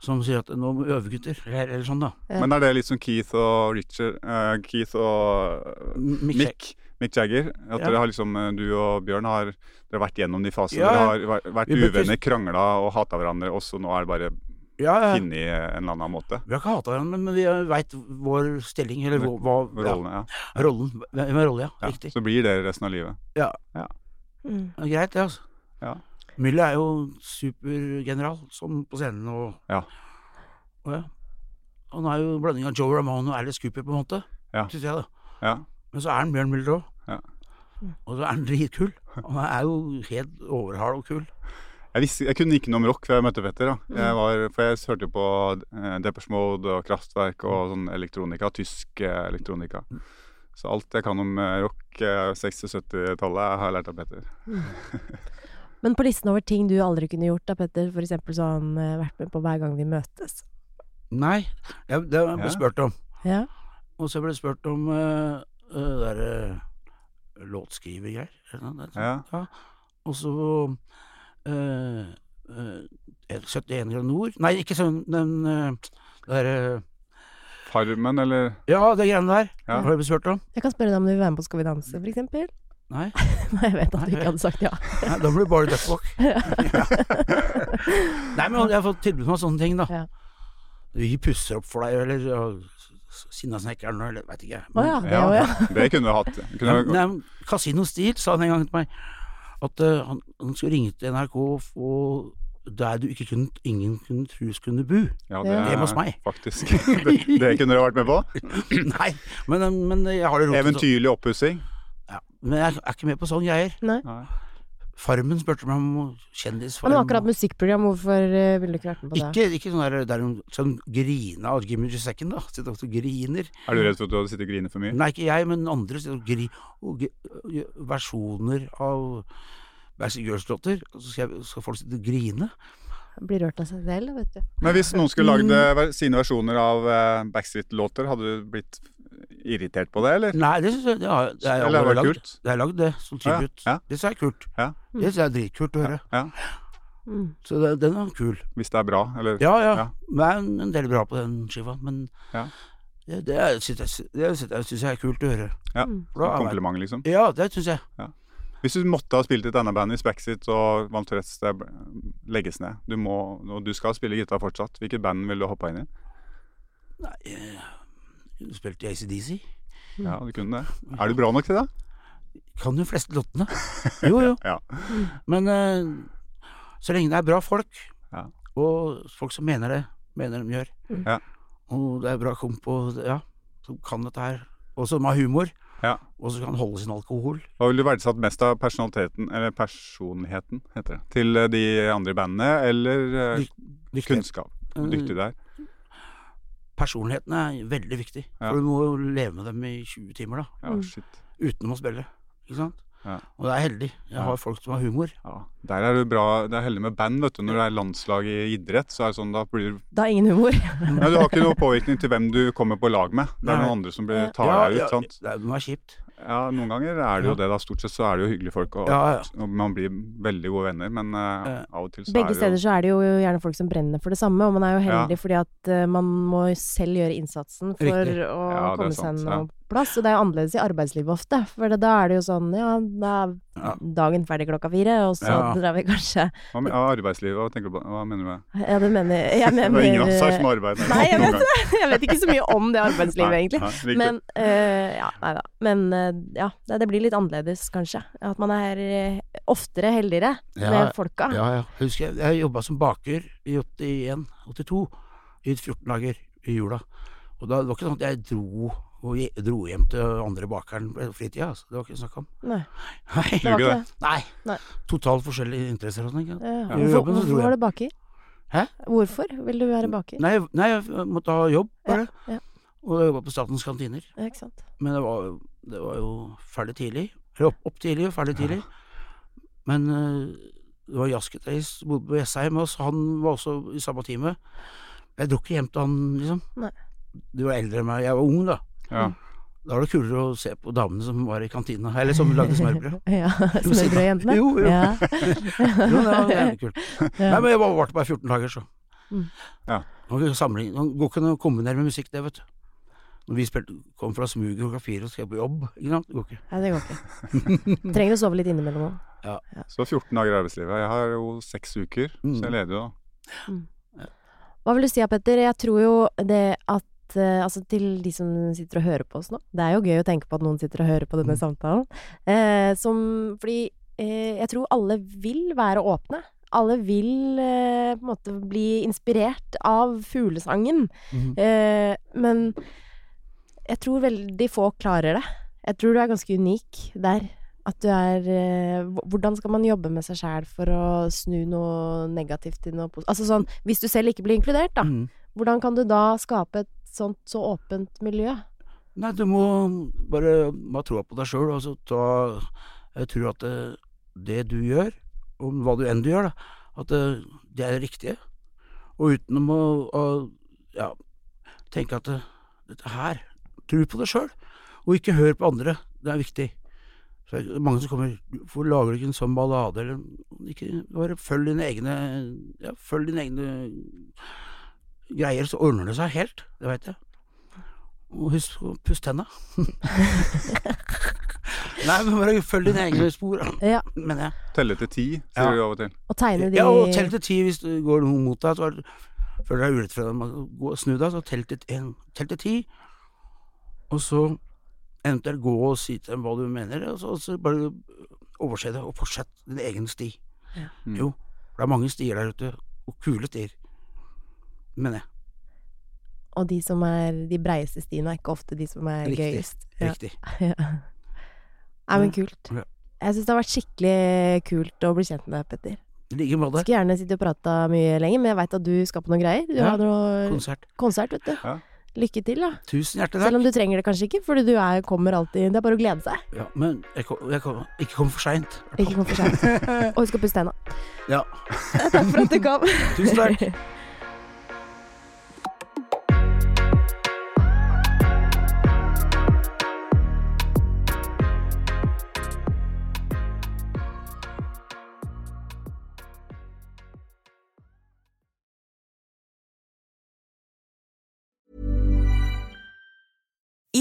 Som sier at 'nå må vi øve, gutter', eller, eller sånn, da.
Ja.
Men er det litt som Keith og Richard eh, Keith og eh,
M- Mick Jack-
Mick, Mick Jagger? At
Ja.
dere har liksom, eh, du og Bjørn har dere har vært gjennom de fasene.
Ja,
Dere
ja.
har væ- vært
Vi bør ikke-
uvenner, krangla og hata hverandre, og så nå er det bare
Ja, ja.
funnet i en eller annen måte.
Vi har ikke hata hverandre, men vi veit vår stilling, eller hva, hva ja,
Rollene, ja.
rollen. Hvem er rolle, ja.
ja.
Riktig.
Så blir det resten av livet.
Mm.
Ja, greit, det, altså.
Ja.
Mylle er jo supergeneral, sånn på scenen og
Ja.
Og ja. Han er jo en blanding av Joe Ramone og Alice Cooper, på en måte.
Ja.
Synes jeg, da.
Ja.
Men så er han Bjørn Müller òg.
Ja.
Og så er han dritkul. Han er jo helt overhard og kul.
Jeg, visste, jeg kunne ikke noe om rock før jeg møtte Petter.
Mm.
Da. Jeg var, for jeg hørte jo på eh, Depeche Mode og Kraftwerk og
Mm.
sånn elektronika, tysk eh, elektronika. Så alt jeg kan om eh, rock eh, 60-70-tallet, har jeg lært av Petter.
Men på listen over ting du aldri kunne gjort da, Petter, for eksempel så har han eh, vært med på hver gang vi møtes.
Nei, jeg, det ble
Ja.
jeg spurt om.
Ja.
Og så ble jeg spurt om uh, det derre låtskrivergreier. eller noe sånt.
Ja.
Og så eh, eh, Jeg 71 grader nord Nei, ikke sånn den eh, der, eh,
Farmen, eller
Ja, det greiene der.
Ja.
Har du blitt spurt om?
Jeg kan spørre deg om du vil være med på Skal vi danse, for eksempel.
Nei.
Nei, jeg vet at du ikke hadde sagt ja.
Nei da blir det bare duck walk. Nei, men jeg har fått tilbud om sånne ting, da.
Ja.
Vi pusser opp for deg, eller ja, Sinnasnekkeren, eller veit ikke.
Å ja, det òg, ja.
Det kunne du hatt. Kunne
Nei, men Casino Steel sa han en gang til meg at eh, han, han skulle ringe til NRK og der du ikke kunne, ingen kunne trus kunne bu.
ja,
Ja.
Hjemme hos meg.
Faktisk. Det, det kunne du vært med på.
Nei, men, eh, men jeg har det rotet.
Eventyrlig oppussing.
Ja, men jeg er ikke med på sånne greier.
Nei.
Nei.
Farmen spurte meg om
Men
kjendisfarm.
det var akkurat musikkprogram, hvorfor eh, ville du ikke vært med på det?
Ikke, ikke sånn der, der hun sånn grina av Jimmy Giusecken, da. Sitter og griner.
Er du redd for at du hadde sittet og grinet for mye?
Nei, ikke jeg, men andre sitter og gri... Og, gri- og, versjoner av Bassey Girls-låter. og Så skal, jeg, skal folk sitte og grine.
Blir rørt av seg selv, vet du.
Men hvis noen skulle lagd eh, ver- sine versjoner av eh, Backstreet-låter, hadde du blitt irritert på det, eller?
Nei, det syns jeg det har, det har jeg
Eller
aldri
var det
lagd.
kult?
Det er lagd, det, som
Ja,
tribut.
ja.
Det syns jeg er kult.
Ja.
Det syns jeg er dritkult å høre.
Ja.
Mm.
Så det, den er kul.
Hvis det er bra, eller?
Ja, ja.
Ja.
Det er en- en del bra på den skiva, men
Ja.
det, det er- syns jeg, det syns jeg- syns jeg er kult å høre.
Ja.
Mm.
For da er-
Kompliment, liksom.
Ja, det syns jeg.
Hvis du måtte ha spilt i denne bandet hvis Backstreet og Vant Tourettes det ble- legges ned, du må, og du skal spille gitar fortsatt, hvilket band ville du hoppa inn i?
Du spilte i ACDC.
Mm.
Ja, du kunne det. Er du bra nok til det?
Kan jo fleste låtene. Jo, jo.
Ja.
Men eh, så lenge det er bra folk,
Ja.
og folk som mener det, mener de gjør,
Ja.
og det er bra komp og ja, som kan dette her, og som har humor,
Ja.
og som kan holde sin alkohol
Hva ville du verdsatt mest av personaliteten, eller personligheten, heter det, til eh, de andre i bandet, eller eh,
Dyk- dyktig.
kunnskap?
Mm.
Hvor Dyktig der.
Personligheten er veldig viktig,
Ja.
for du må jo leve med dem i 20 timer da,
Ja, shit.
utenom å spille. Ikke sant?
Ja.
Og det er heldig. Jeg har folk som har humor.
Ja. Der er du bra. Det er heldig med band, vet du. Når det er landslag i idrett, så er det sånn da blir du
Da ingen humor.
Nei, Du har ikke noe påvirkning til hvem du kommer på lag med. Det er
Nei.
noen andre som blir, tar deg
ja,
ut, sant.
Det er, det er kjipt.
Ja, noen ganger er det jo
Ja.
det, da. Stort sett så er det jo hyggelige folk, og,
Ja, ja.
og man blir veldig gode venner, men eh,
Ja.
av og til så
Begge
er
steder
det jo
så er det jo gjerne folk som brenner for det samme, og man er jo heldig
Ja.
fordi at eh, man må selv gjøre innsatsen for
Riktig.
å
Ja, det er
komme
sant,
seg
ja.
noe plass. Og det er jo annerledes i arbeidslivet ofte, for det, da er det jo sånn ja, da er
Ja.
dagen ferdig klokka fire, og så
Ja.
drar vi kanskje
Hva med ja, arbeidslivet? Hva, tenker du på? Hva mener du med det?
Ja, det mener jeg. Mener,
Det er ingen av oss her som arbeider
Nei, jeg
noen
vet
gang.
jeg vet ikke så mye om det arbeidslivet,
Nei,
egentlig.
nei, riktig.
Men eh, ja, nei da. Men eh, ja, det, det blir litt annerledes, kanskje. At man er eh, oftere heldigere
Ja,
med folka.
Ja, ja. Jeg husker jeg, jeg jobba som baker i 81, 82, i 14 dager i jula. Og da, det var ikke sånn at jeg dro, og je- dro hjem til andre bakeren på fritida. Altså. Det var ikke snakk om.
Nei,
Nei.
det var ikke
Gjorde det?
det.
Nei.
Nei.
Totalt forskjellige interesser. og Sånn, ikke? sant?
Ja.
Gjorde
Hvorfor,
jobben, så dro
hvorfor
jeg.
var du baker?
Hæ?
Hvorfor vil du være baker?
Nei, jeg- nei, jeg måtte ha jobb, bare.
ja.
Og jeg jobba på statens kantiner.
Ja, ikke sant?
Men det var, det var jo ferdig tidlig. Eller opp, opp tidlig og ferdig tidlig. Men eh, det var jazzgitarist som bodde på Jessheim, og han var også i samme time. Jeg dro ikke hjem til han, liksom.
Nei.
Du var eldre enn meg. Jeg var ung, da.
Ja.
Da var det kulere å se på damene som var i kantina, eller som lagde smørbrød.
Ja, Smørbrødjentene?
Jo, jo.
Ja.
Jo, det var jævlig kult.
Ja.
Nei, men jeg var- varte bare 14 dager, så.
Mm.
Ja.
Man kan ikke sammenligne- man går ikke an å kombinere med musikk, det, vet du. Når vi spilte, kom fra smuget klokka fire og skal på jobb, ikke sant. Det går ikke.
Nei, det går ikke. Trenger å sove litt innimellom òg.
Så 14 dager i arbeidslivet. Jeg har jo seks uker,
Mm.
så jeg leder jo da.
Hva vil du si, ja, Petter? Jeg tror jo det at eh, Altså til de som sitter og hører på oss nå. Det er jo gøy å tenke på at noen sitter og hører på denne samtalen. Eh, som Fordi eh, jeg tror alle vil være åpne. Alle vil eh, på en måte bli inspirert av fuglesangen.
Mhm.
Eh, men jeg tror veldig få klarer det. Jeg tror du er ganske unik der. At du er eh, hv- Hvordan skal man jobbe med seg sjæl for å snu noe negativt til noe positivt? Altså sånn, hvis du selv ikke blir inkludert, da.
Mm.
Hvordan kan du da skape et sånt så åpent miljø?
Nei, du må bare ha troa på deg sjøl. Altså, ta- jeg tror at det, det du gjør, og hva du enn du gjør, da, at det, det er det riktige. Og utenom å, å ja, tenke eh, at det, dette her Tro på deg sjøl, og ikke hør på andre. Det er viktig. Så det er mange som kommer Hvorfor lager du ikke en sånn ballade? Eller, ikke, bare følg dine egne ja, Følg dine egne greier, så ordner det seg helt. Det veit jeg. Og husk å pusse tenna. Nei, men bare følg dine egne spor, da,
Ja,
mener jeg.
Telle til ti, sier
Ja.
du av og til.
og tegne de
Ja, og tell til ti hvis det går noen mot deg. Så er det- føler deg urettferdig. man kan gå- Snu deg, så tell til, en, tell til ti. Og så eventuelt gå og si til dem hva du mener, og så, og så bare overse det, og fortsett din egen sti.
Mm.
Jo, for det er mange stier der ute, og kule stier, mener jeg.
Og de som er de breieste stiene, er ikke ofte de som er
Riktig.
gøyest. Ja.
Riktig.
Ja. Nei, men kult.
Ja.
Jeg syns det har vært skikkelig kult å bli kjent med deg, Petter.
I like
Jeg
måte.
skulle gjerne sittet og prata mye lenger, men jeg veit at du skal på noen greier. Du
Ja,
har noe
Konsert.
konsert, vet du.
Ja.
Lykke til, da.
Tusen hjertelig
Selv
takk.
om du trenger det kanskje ikke, for du er, kommer alltid Det er bare å glede seg.
Ja, men jeg kom, jeg kom, ikke kom for seint.
Ikke kom for seint. Og husk å pusse tenna.
Ja.
Takk for at du kom.
Tusen takk.